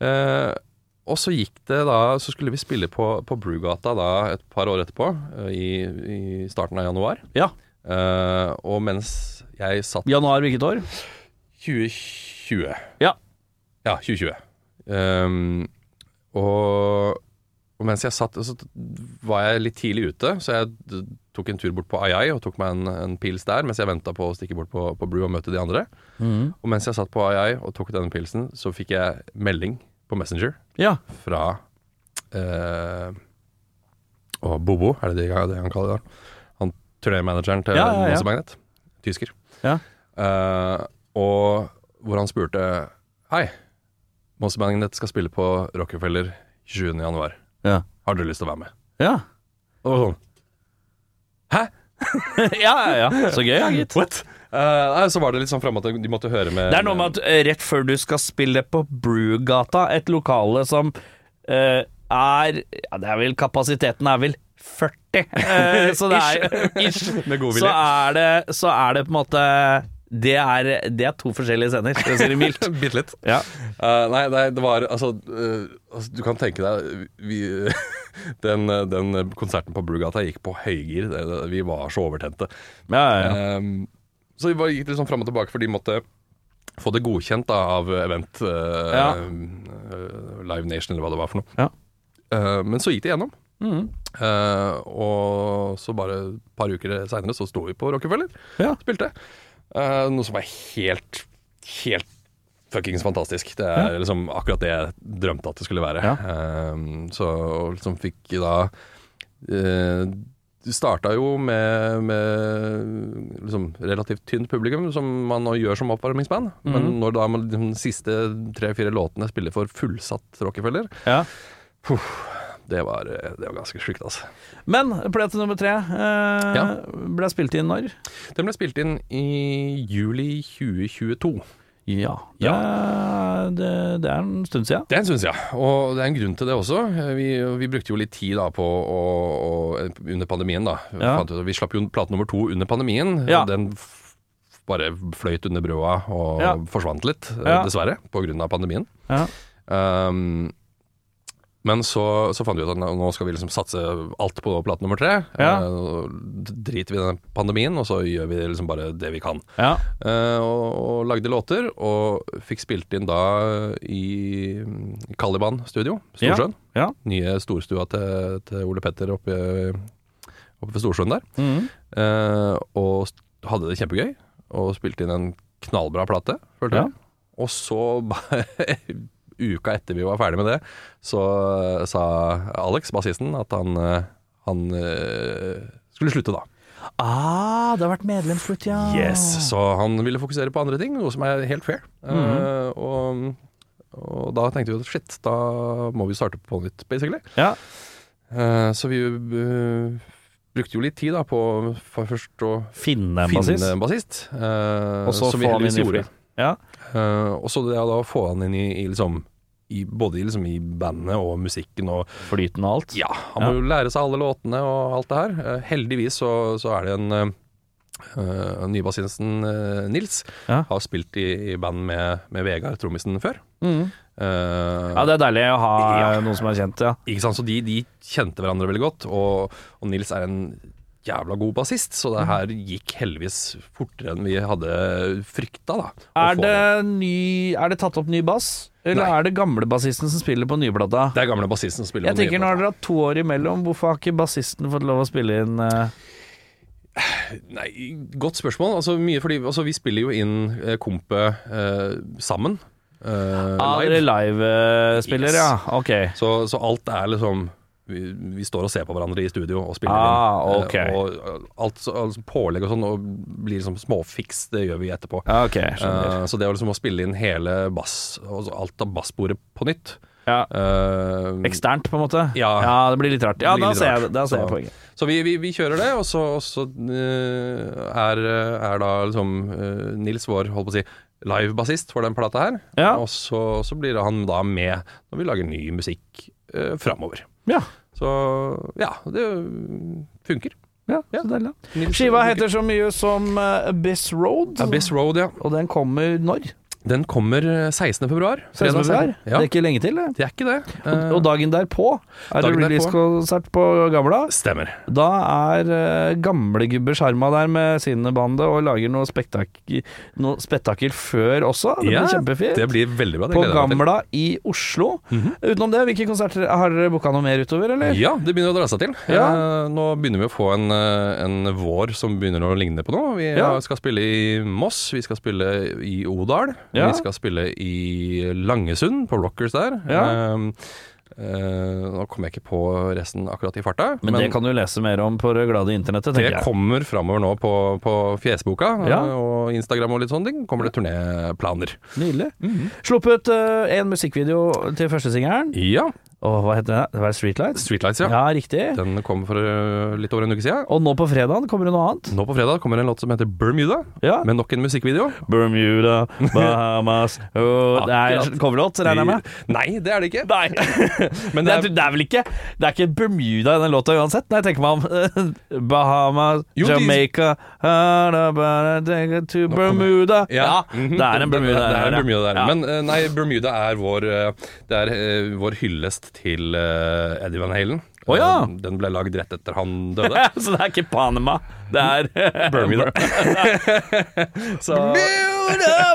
Speaker 3: eh, Og så gikk det da Så skulle vi spille på, på Brugata da et par år etterpå, eh, i, i starten av januar.
Speaker 2: Ja.
Speaker 3: Eh, og mens jeg satt
Speaker 2: Januar hvilket år?
Speaker 3: 2020
Speaker 2: Ja.
Speaker 3: Ja, 2020. Ehm, og, og mens jeg satt, så var jeg litt tidlig ute, så jeg d- tok en tur bort på Ayai og tok meg en, en pils der mens jeg venta på å stikke bort på, på Brew og møte de andre.
Speaker 2: Mm.
Speaker 3: Og mens jeg satt på Ayai og tok denne pilsen, så fikk jeg melding på Messenger
Speaker 2: Ja.
Speaker 3: fra eh, Og Bobo, er det det det han kaller det? Han turnémanageren til
Speaker 2: Ja, ja, ja.
Speaker 3: Monster Magnet. Tysker.
Speaker 2: Ja.
Speaker 3: Eh, og hvor han spurte Hei, Monster Magnet skal spille på Rockefeller 27. januar.
Speaker 2: Ja.
Speaker 3: Har dere lyst til å være med?
Speaker 2: Ja,
Speaker 3: Og det var sånn
Speaker 2: ja, ja. Så gøy, ja, gitt.
Speaker 3: What? Eh, nei, så var det litt sånn framme at de måtte høre med
Speaker 2: Det er noe med at eh, rett før du skal spille på Brugata, et lokale som eh, er ja, det er vel, Kapasiteten er vel 40, eh, så det er ish.
Speaker 3: med god
Speaker 2: Så
Speaker 3: vilje.
Speaker 2: er det, så er det på en måte det er, det er to forskjellige scener, for å si det mildt.
Speaker 3: Bitte litt.
Speaker 2: Ja.
Speaker 3: Eh, nei, nei, det var altså, eh, altså Du kan tenke deg vi, den, eh, den konserten på Brugata gikk på høygir. Det- det- Vi var så overtente.
Speaker 2: Ja, ja, ja.
Speaker 3: Ehm, liksom Eh, så vi bare gikk litt sånn fram og tilbake, for de måtte få det godkjent da, av Event eh,
Speaker 2: Ja.
Speaker 3: eh, Live Nation, eller hva det var for noe.
Speaker 2: Ja.
Speaker 3: Eh, men så gikk det gjennom.
Speaker 2: Mhm.
Speaker 3: Eh, og så bare et par uker seinere så sto vi på Rockefeller,
Speaker 2: Ja.
Speaker 3: spilte. Eh, noe som er helt, helt fuckings fantastisk. Det er liksom akkurat det jeg drømte at det skulle være.
Speaker 2: Ja.
Speaker 3: Eh, så og liksom fikk da eh, det starta jo med, med liksom relativt tynt publikum, som man nå gjør som oppvarmingsband. Men når da man, liksom de siste tre-fire låtene spiller for fullsatt Rockefeller,
Speaker 2: Ja.
Speaker 3: det var, det var ganske sjukt, altså.
Speaker 2: Men plate nummer tre eh,
Speaker 3: Ja.
Speaker 2: ble spilt inn når?
Speaker 3: Den ble spilt inn i juli 2022.
Speaker 2: Ja. Det, det, det er en stund siden.
Speaker 3: Den syns jeg, og det er en grunn til det også. Vi, vi brukte jo litt tid da på å, å Under pandemien, da.
Speaker 2: Ja.
Speaker 3: Fant ut at Vi slapp jo plate nummer to under pandemien.
Speaker 2: Ja.
Speaker 3: Den f- bare fløyt under brøda og
Speaker 2: Ja.
Speaker 3: forsvant litt, eh,
Speaker 2: Ja.
Speaker 3: dessverre, pga. pandemien.
Speaker 2: Ja.
Speaker 3: Um, men så, så fant vi ut at nå skal vi liksom satse alt på plate nummer tre.
Speaker 2: Ja.
Speaker 3: Eh, og driter vi i den pandemien, og så gjør vi liksom bare det vi kan.
Speaker 2: Ja.
Speaker 3: Eh, og, og lagde låter, og fikk spilt inn da i mm, Caliban studio, Storsjøen.
Speaker 2: Ja.
Speaker 3: Nye storstua til, til Ole Petter oppe, oppe ved Storsjøen der.
Speaker 2: Mhm.
Speaker 3: Eh, og st- hadde det kjempegøy, og spilte inn en knallbra plate, følte
Speaker 2: Ja.
Speaker 3: jeg. Og så, bare uka etter vi var ferdig med det, så eh, sa Alex, bassisten, at han, eh, han eh, skulle slutte da.
Speaker 2: Ah, det har vært medlemsflutt, ja.
Speaker 3: Yes, så han ville fokusere på andre ting, noe som er helt fair.
Speaker 2: Mhm.
Speaker 3: Eh, og, og da tenkte vi at shit, da må vi starte på nytt, basically.
Speaker 2: Ja.
Speaker 3: Eh, så vi eh, brukte jo litt tid da på for først å
Speaker 2: Finne en
Speaker 3: finne
Speaker 2: bassist.
Speaker 3: en bassist, eh,
Speaker 2: Og så
Speaker 3: som vi
Speaker 2: få han inn
Speaker 3: heldigvis
Speaker 2: i
Speaker 3: gjorde.
Speaker 2: fri. Ja.
Speaker 3: Eh, og så det å da få han inn i, i liksom i, både i, liksom i bandet og musikken og
Speaker 2: Flyten og alt.
Speaker 3: ja, han må jo lære seg alle låtene og alt det her. Eh, heldigvis så, så er det en uh, nybassisten eh, Nils.
Speaker 2: Ja.
Speaker 3: Har spilt i, i band med, med Vegard Trommisen før.
Speaker 2: Mhm.
Speaker 3: Eh,
Speaker 2: Ja, det er deilig å ha eh,
Speaker 3: Ja.
Speaker 2: noen som er kjent, ja.
Speaker 3: Ikke sant? Så de, de kjente hverandre veldig godt, og, og Nils er en jævla god bassist, så
Speaker 2: Mm.
Speaker 3: det her gikk heldigvis fortere enn vi hadde frykta, da. å
Speaker 2: Er
Speaker 3: få
Speaker 2: det, ny, er det tatt opp ny bass, eller
Speaker 3: Nei.
Speaker 2: er det gamle bassisten som spiller på nyplata?
Speaker 3: Det er gamle bassisten som spiller
Speaker 2: Jeg
Speaker 3: den nye
Speaker 2: tenker Nå har dere hatt to år imellom, hvorfor har ikke bassisten fått lov å spille inn eh,
Speaker 3: Nei, godt spørsmål. Altså, mye fordi altså, Vi spiller jo inn eh, kompet eh, sammen. Eh,
Speaker 2: Ah,
Speaker 3: live.
Speaker 2: dere live-spiller,
Speaker 3: Yes.
Speaker 2: ja. Ok.
Speaker 3: Så, så alt er liksom vi, vi står og ser på hverandre i studio og spiller
Speaker 2: Ah,
Speaker 3: inn. Eh,
Speaker 2: ok.
Speaker 3: Og alt, så- altså, pålegg og sånn og blir liksom småfiks, det gjør vi etterpå.
Speaker 2: Ja, ok, skjønner.
Speaker 3: Eh, så det å liksom å spille inn hele bass, altså alt av bassbordet på nytt
Speaker 2: Ja.
Speaker 3: eh,
Speaker 2: Eksternt, på en måte?
Speaker 3: Ja.
Speaker 2: det blir litt rart. Ja,
Speaker 3: Det blir
Speaker 2: da
Speaker 3: litt
Speaker 2: ser,
Speaker 3: rart.
Speaker 2: jeg, det. da ser jeg
Speaker 3: Så-
Speaker 2: poenget.
Speaker 3: Så vi, vi, vi kjører det, og så, og så eh, er, er da liksom eh, Nils vår, holdt på å si, live-bassist for den plata her.
Speaker 2: Ja.
Speaker 3: Og så, så blir han da med når vi lager ny musikk uh, framover.
Speaker 2: Ja,
Speaker 3: Så ja, det funker.
Speaker 2: ja, så deilig.
Speaker 3: Nils-
Speaker 2: Skiva heter så mye som eh, Abyss Road,
Speaker 3: Abyss Road, ja.
Speaker 2: og den kommer når?
Speaker 3: Den kommer 16. februar.
Speaker 2: 16. februar? Det
Speaker 3: Ja.
Speaker 2: er ikke lenge til, det.
Speaker 3: Det er ikke det. Eh,
Speaker 2: Og dagen derpå er det
Speaker 3: Dagen derpå.
Speaker 2: releasekonsert på Gamla.
Speaker 3: Stemmer.
Speaker 2: Da er eh, gamlegubber Sjarma der med sin bande og lager noe spektakel, noe spetakkel før også. Det blir
Speaker 3: Ja,
Speaker 2: kjempefint.
Speaker 3: Det blir veldig bra. Det
Speaker 2: på
Speaker 3: gleder jeg meg til.
Speaker 2: Gamla i Oslo. Utenom det, hvilke konserter har dere booka noe mer utover, eller?
Speaker 3: Ja, det begynner å dra seg til.
Speaker 2: Ja.
Speaker 3: Eh, nå begynner vi å få en, eh, en vår som begynner å ligne på noe. Vi
Speaker 2: Ja.
Speaker 3: eh, skal spille i Moss, vi skal spille i Odal,
Speaker 2: Ja.
Speaker 3: vi skal spille i Langesund, på Rockers der.
Speaker 2: Ja.
Speaker 3: Eh, eh, nå kommer jeg ikke på resten akkurat i farta.
Speaker 2: Men, det kan du lese mer om på det glade internettet, tenker
Speaker 3: det
Speaker 2: jeg.
Speaker 3: kommer framover nå på, på fjesboka eh,
Speaker 2: Ja.
Speaker 3: og Instagram og litt sånne ting. Kommer det turnéplaner.
Speaker 2: Nydelig. Sluppet eh, en musikkvideo til første singelen.
Speaker 3: Ja.
Speaker 2: Åh, hva heter den? Det var Streetlights?
Speaker 3: Streetlights, ja.
Speaker 2: Ja, riktig.
Speaker 3: Den kom for eh, litt over en uke siden.
Speaker 2: Og nå på fredagen kommer det noe annet.
Speaker 3: Nå på fredag kommer en låt som heter Bermuda,
Speaker 2: Ja.
Speaker 3: med nok en musikkvideo.
Speaker 2: Bermuda, Bahamas oh, Det er
Speaker 3: Akkurat.
Speaker 2: coverlåt, regner jeg med?
Speaker 3: Nei, det er det ikke.
Speaker 2: Nei. det,
Speaker 3: Men det
Speaker 2: er, det er vel ikke Det er ikke Bermuda i den låta uansett, når jeg tenker meg om. Bahamas,
Speaker 3: Jo, de-
Speaker 2: Jamaica Alabama, take it to Bermuda. Ja,
Speaker 3: mhm.
Speaker 2: det er en Bermuda
Speaker 3: Det, det er
Speaker 2: der, ja.
Speaker 3: en Bermuda der.
Speaker 2: Ja.
Speaker 3: Men eh, nei, Bermuda er vår eh, Det er eh, vår hyllest til eh, Eddie Van Halen.
Speaker 2: Å ja.
Speaker 3: Eh, Den ble lagd rett etter han døde.
Speaker 2: Så det er ikke Panama, det er
Speaker 3: Bermuda. Så,
Speaker 2: Bermuda!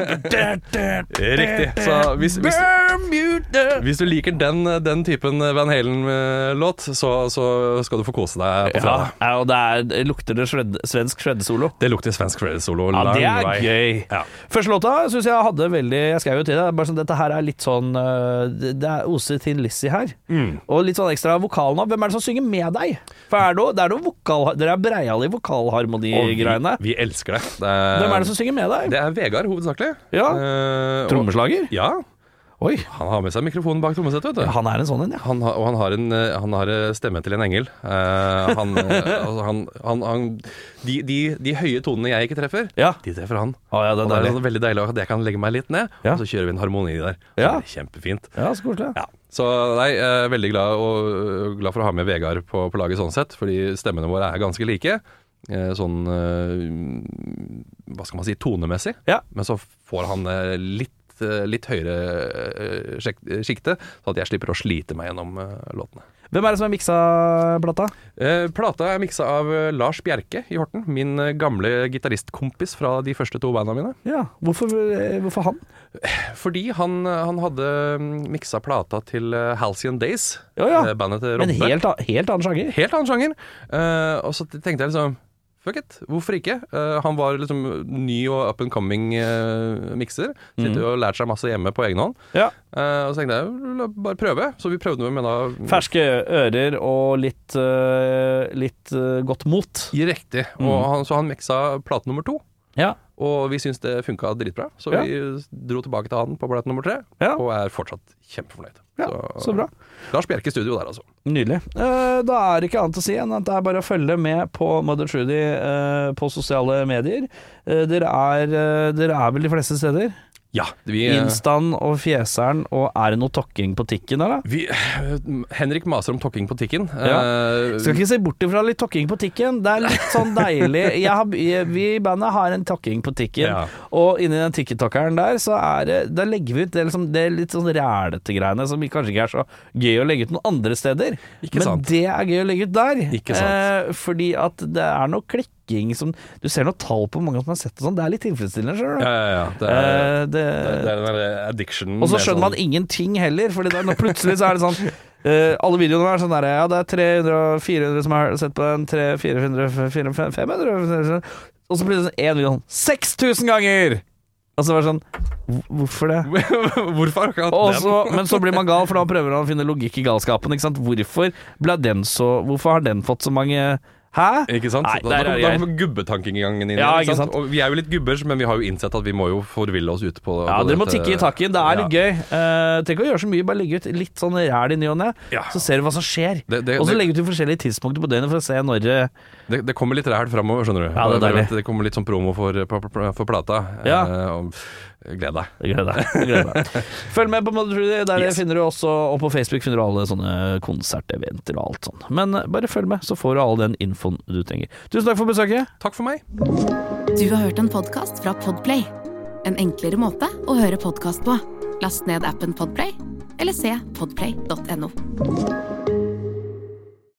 Speaker 3: Riktig. Så hvis, hvis,
Speaker 2: Bermuda!
Speaker 3: hvis du liker den, den typen Van Halen-låt, så, så skal du få kose deg på
Speaker 2: Ja,
Speaker 3: fredag.
Speaker 2: ja, og det er, det lukter det shred, svensk shred-solo.
Speaker 3: Det lukter svensk Freddy-solo.
Speaker 2: Ja, det
Speaker 3: lang
Speaker 2: er
Speaker 3: vei.
Speaker 2: gøy.
Speaker 3: Ja.
Speaker 2: Første låta syns jeg hadde veldig Jeg skrev jo til deg, bare sånn dette her er litt sånn øh, Det det er oser Thin Lizzie her.
Speaker 3: Mm.
Speaker 2: Og litt sånn ekstra vokal nå. Hvem er det som synger med deg? For er det, noe- det er noe vokal Dere er breiale i
Speaker 3: Og
Speaker 2: vokalharmonigreiene.
Speaker 3: Vi, vi elsker det. det
Speaker 2: Hvem er det som synger med deg?
Speaker 3: Det er Vegard, hovedsakelig.
Speaker 2: Ja.
Speaker 3: Eh, og-
Speaker 2: Trommeslager?
Speaker 3: Ja.
Speaker 2: Oi.
Speaker 3: Han har med seg mikrofonen bak trommesettet, vet du.
Speaker 2: Han er en sånn en, ja.
Speaker 3: Han har, og han har, en, eh, han har eh, stemmen til en engel. Eh, han, eh, altså, han, han, han de, de, de høye tonene jeg ikke treffer,
Speaker 2: Ja.
Speaker 3: de treffer han.
Speaker 2: Å, ja, det er
Speaker 3: og det er
Speaker 2: deilig.
Speaker 3: sånn veldig deilig at jeg kan legge meg litt ned,
Speaker 2: Ja.
Speaker 3: og så kjører vi en harmoni der. Så
Speaker 2: Ja.
Speaker 3: det er kjempefint.
Speaker 2: Ja, Så koselig.
Speaker 3: Ja. Så nei, jeg er veldig glad, og, øh, glad for å ha med Vegard på, på laget sånn sett, fordi stemmene våre er ganske like. eh, Sånn øh, Hva skal man si tonemessig.
Speaker 2: Ja.
Speaker 3: Men så får han eh, litt, eh, litt høyere sjikte, så at jeg slipper å slite meg gjennom eh, låtene.
Speaker 2: Hvem er det som har miksa plata?
Speaker 3: Eh, Plata er miksa av eh, Lars Bjerke i Horten, min eh, gamle gitaristkompis fra de første to banda mine.
Speaker 2: Ja, Hvorfor, øh, hvorfor han?
Speaker 3: Fordi han, øh, han hadde mm, miksa plata til eh, Halcyon Days,
Speaker 2: Ja, ja.
Speaker 3: eh, bandet til
Speaker 2: Men
Speaker 3: Robbe.
Speaker 2: en helt, an- helt annen sjanger.
Speaker 3: helt annen sjanger. Eh, og så tenkte jeg liksom Fuck it, hvorfor ikke? Eh, han var liksom ny og up and coming eh, mikser.
Speaker 2: Mhm.
Speaker 3: Sitter og lært seg masse hjemme på egen hånd.
Speaker 2: Ja.
Speaker 3: Eh, og så tenkte jeg la bare prøve. Så vi prøvde med da
Speaker 2: Ferske ører og litt, øh, litt øh, godt mot.
Speaker 3: i riktig. Og
Speaker 2: Mhm.
Speaker 3: han, så han miksa plate nummer to.
Speaker 2: Ja.
Speaker 3: Og vi syns det funka dritbra, så
Speaker 2: Ja.
Speaker 3: vi dro tilbake til han på plate nummer tre.
Speaker 2: Ja.
Speaker 3: Og er fortsatt kjempefornøyd.
Speaker 2: Ja, så bra.
Speaker 3: Lars Bjerke i studio der, altså.
Speaker 2: Nydelig. Eh, da er det ikke annet å si enn at det er bare å følge med på Mother Trudy eh, på sosiale medier. Eh, dere, er, eh, dere er vel de fleste steder?
Speaker 3: Ja, vi,
Speaker 2: Instaen og Fjeseren, og er det noe tokking på tikken der, da?
Speaker 3: vi Henrik maser om tokking på tikken. Eh,
Speaker 2: Skal ikke se bort ifra litt tokking på tikken. Det er litt sånn deilig. Jeg har, vi i bandet har en tokking på tikken,
Speaker 3: Ja.
Speaker 2: og inni den tikketokkeren der, så er det Da legger vi ut det, liksom, det litt sånn rælete greiene som kanskje ikke er så gøy å legge ut noen andre steder.
Speaker 3: Ikke
Speaker 2: Men
Speaker 3: sant.
Speaker 2: det er gøy å legge ut der.
Speaker 3: Ikke sant.
Speaker 2: Eh, fordi at det er noe klikking som Du ser noe tall på hvor mange som har sett det sånn. Det er litt tilfredsstillende, skjønner du.
Speaker 3: Ja, ja, ja. Det er,
Speaker 2: Eh, det,
Speaker 3: det er den der addictionen.
Speaker 2: og så
Speaker 3: med
Speaker 2: skjønner man
Speaker 3: sånn-
Speaker 2: ingenting heller, Fordi det er, nå plutselig så er det sånn eh, alle videoene er sånn der Ja, det er 300 og 400 som har sett på den. 300, 400, 400, 500 Og så blir det sånn én video sånn 6000 ganger! Og så var det sånn "Hvor- Hvorfor det?
Speaker 3: Hvorfor har du ikke hatt
Speaker 2: Og
Speaker 3: den?
Speaker 2: så, men så blir man gal, for da prøver han å finne logikk i galskapen. Ikke sant? Hvorfor, ble den så, hvorfor har den fått så mange Hæ?
Speaker 3: Ikke sant?
Speaker 2: Nei,
Speaker 3: Da-
Speaker 2: der er
Speaker 3: da, kom- da
Speaker 2: jeg.
Speaker 3: kommer gubbetankegangen inn.
Speaker 2: Ja,
Speaker 3: igjen,
Speaker 2: ikke sant?
Speaker 3: Og vi er jo litt gubber, men vi har jo innsett at vi må jo forville oss ute på
Speaker 2: Ja,
Speaker 3: på
Speaker 2: dere må
Speaker 3: dette-
Speaker 2: tikke i takken. Det er litt gøy. Uh, trenger ikke å gjøre så mye, bare legge ut litt sånn ræl i ny og ne,
Speaker 3: Ja.
Speaker 2: så ser du hva som skjer.
Speaker 3: Det- det-
Speaker 2: og så
Speaker 3: det-
Speaker 2: legge ut i forskjellige tidspunkter på døgnet for å se når eh, det
Speaker 3: Det, det kommer litt ræl framover, skjønner du.
Speaker 2: Ja, det er
Speaker 3: Bare
Speaker 2: deilig.
Speaker 3: vent, det kommer litt sånn promo for, for, for plata.
Speaker 2: Ja.
Speaker 3: Eh, og gled deg.
Speaker 2: Gleder deg. Gleder deg. Følg med på Mother Trudy, der
Speaker 3: Yes.
Speaker 2: finner du også Og på Facebook finner du alle sånne konserteventer og alt sånn. Men eh, bare følg med, så får du all den infoen du trenger. Tusen takk for besøket.
Speaker 3: Takk for meg.
Speaker 1: Du har hørt en podkast fra Podplay. En enklere måte å høre podkast på. Last ned appen Podplay, eller se podplay.no.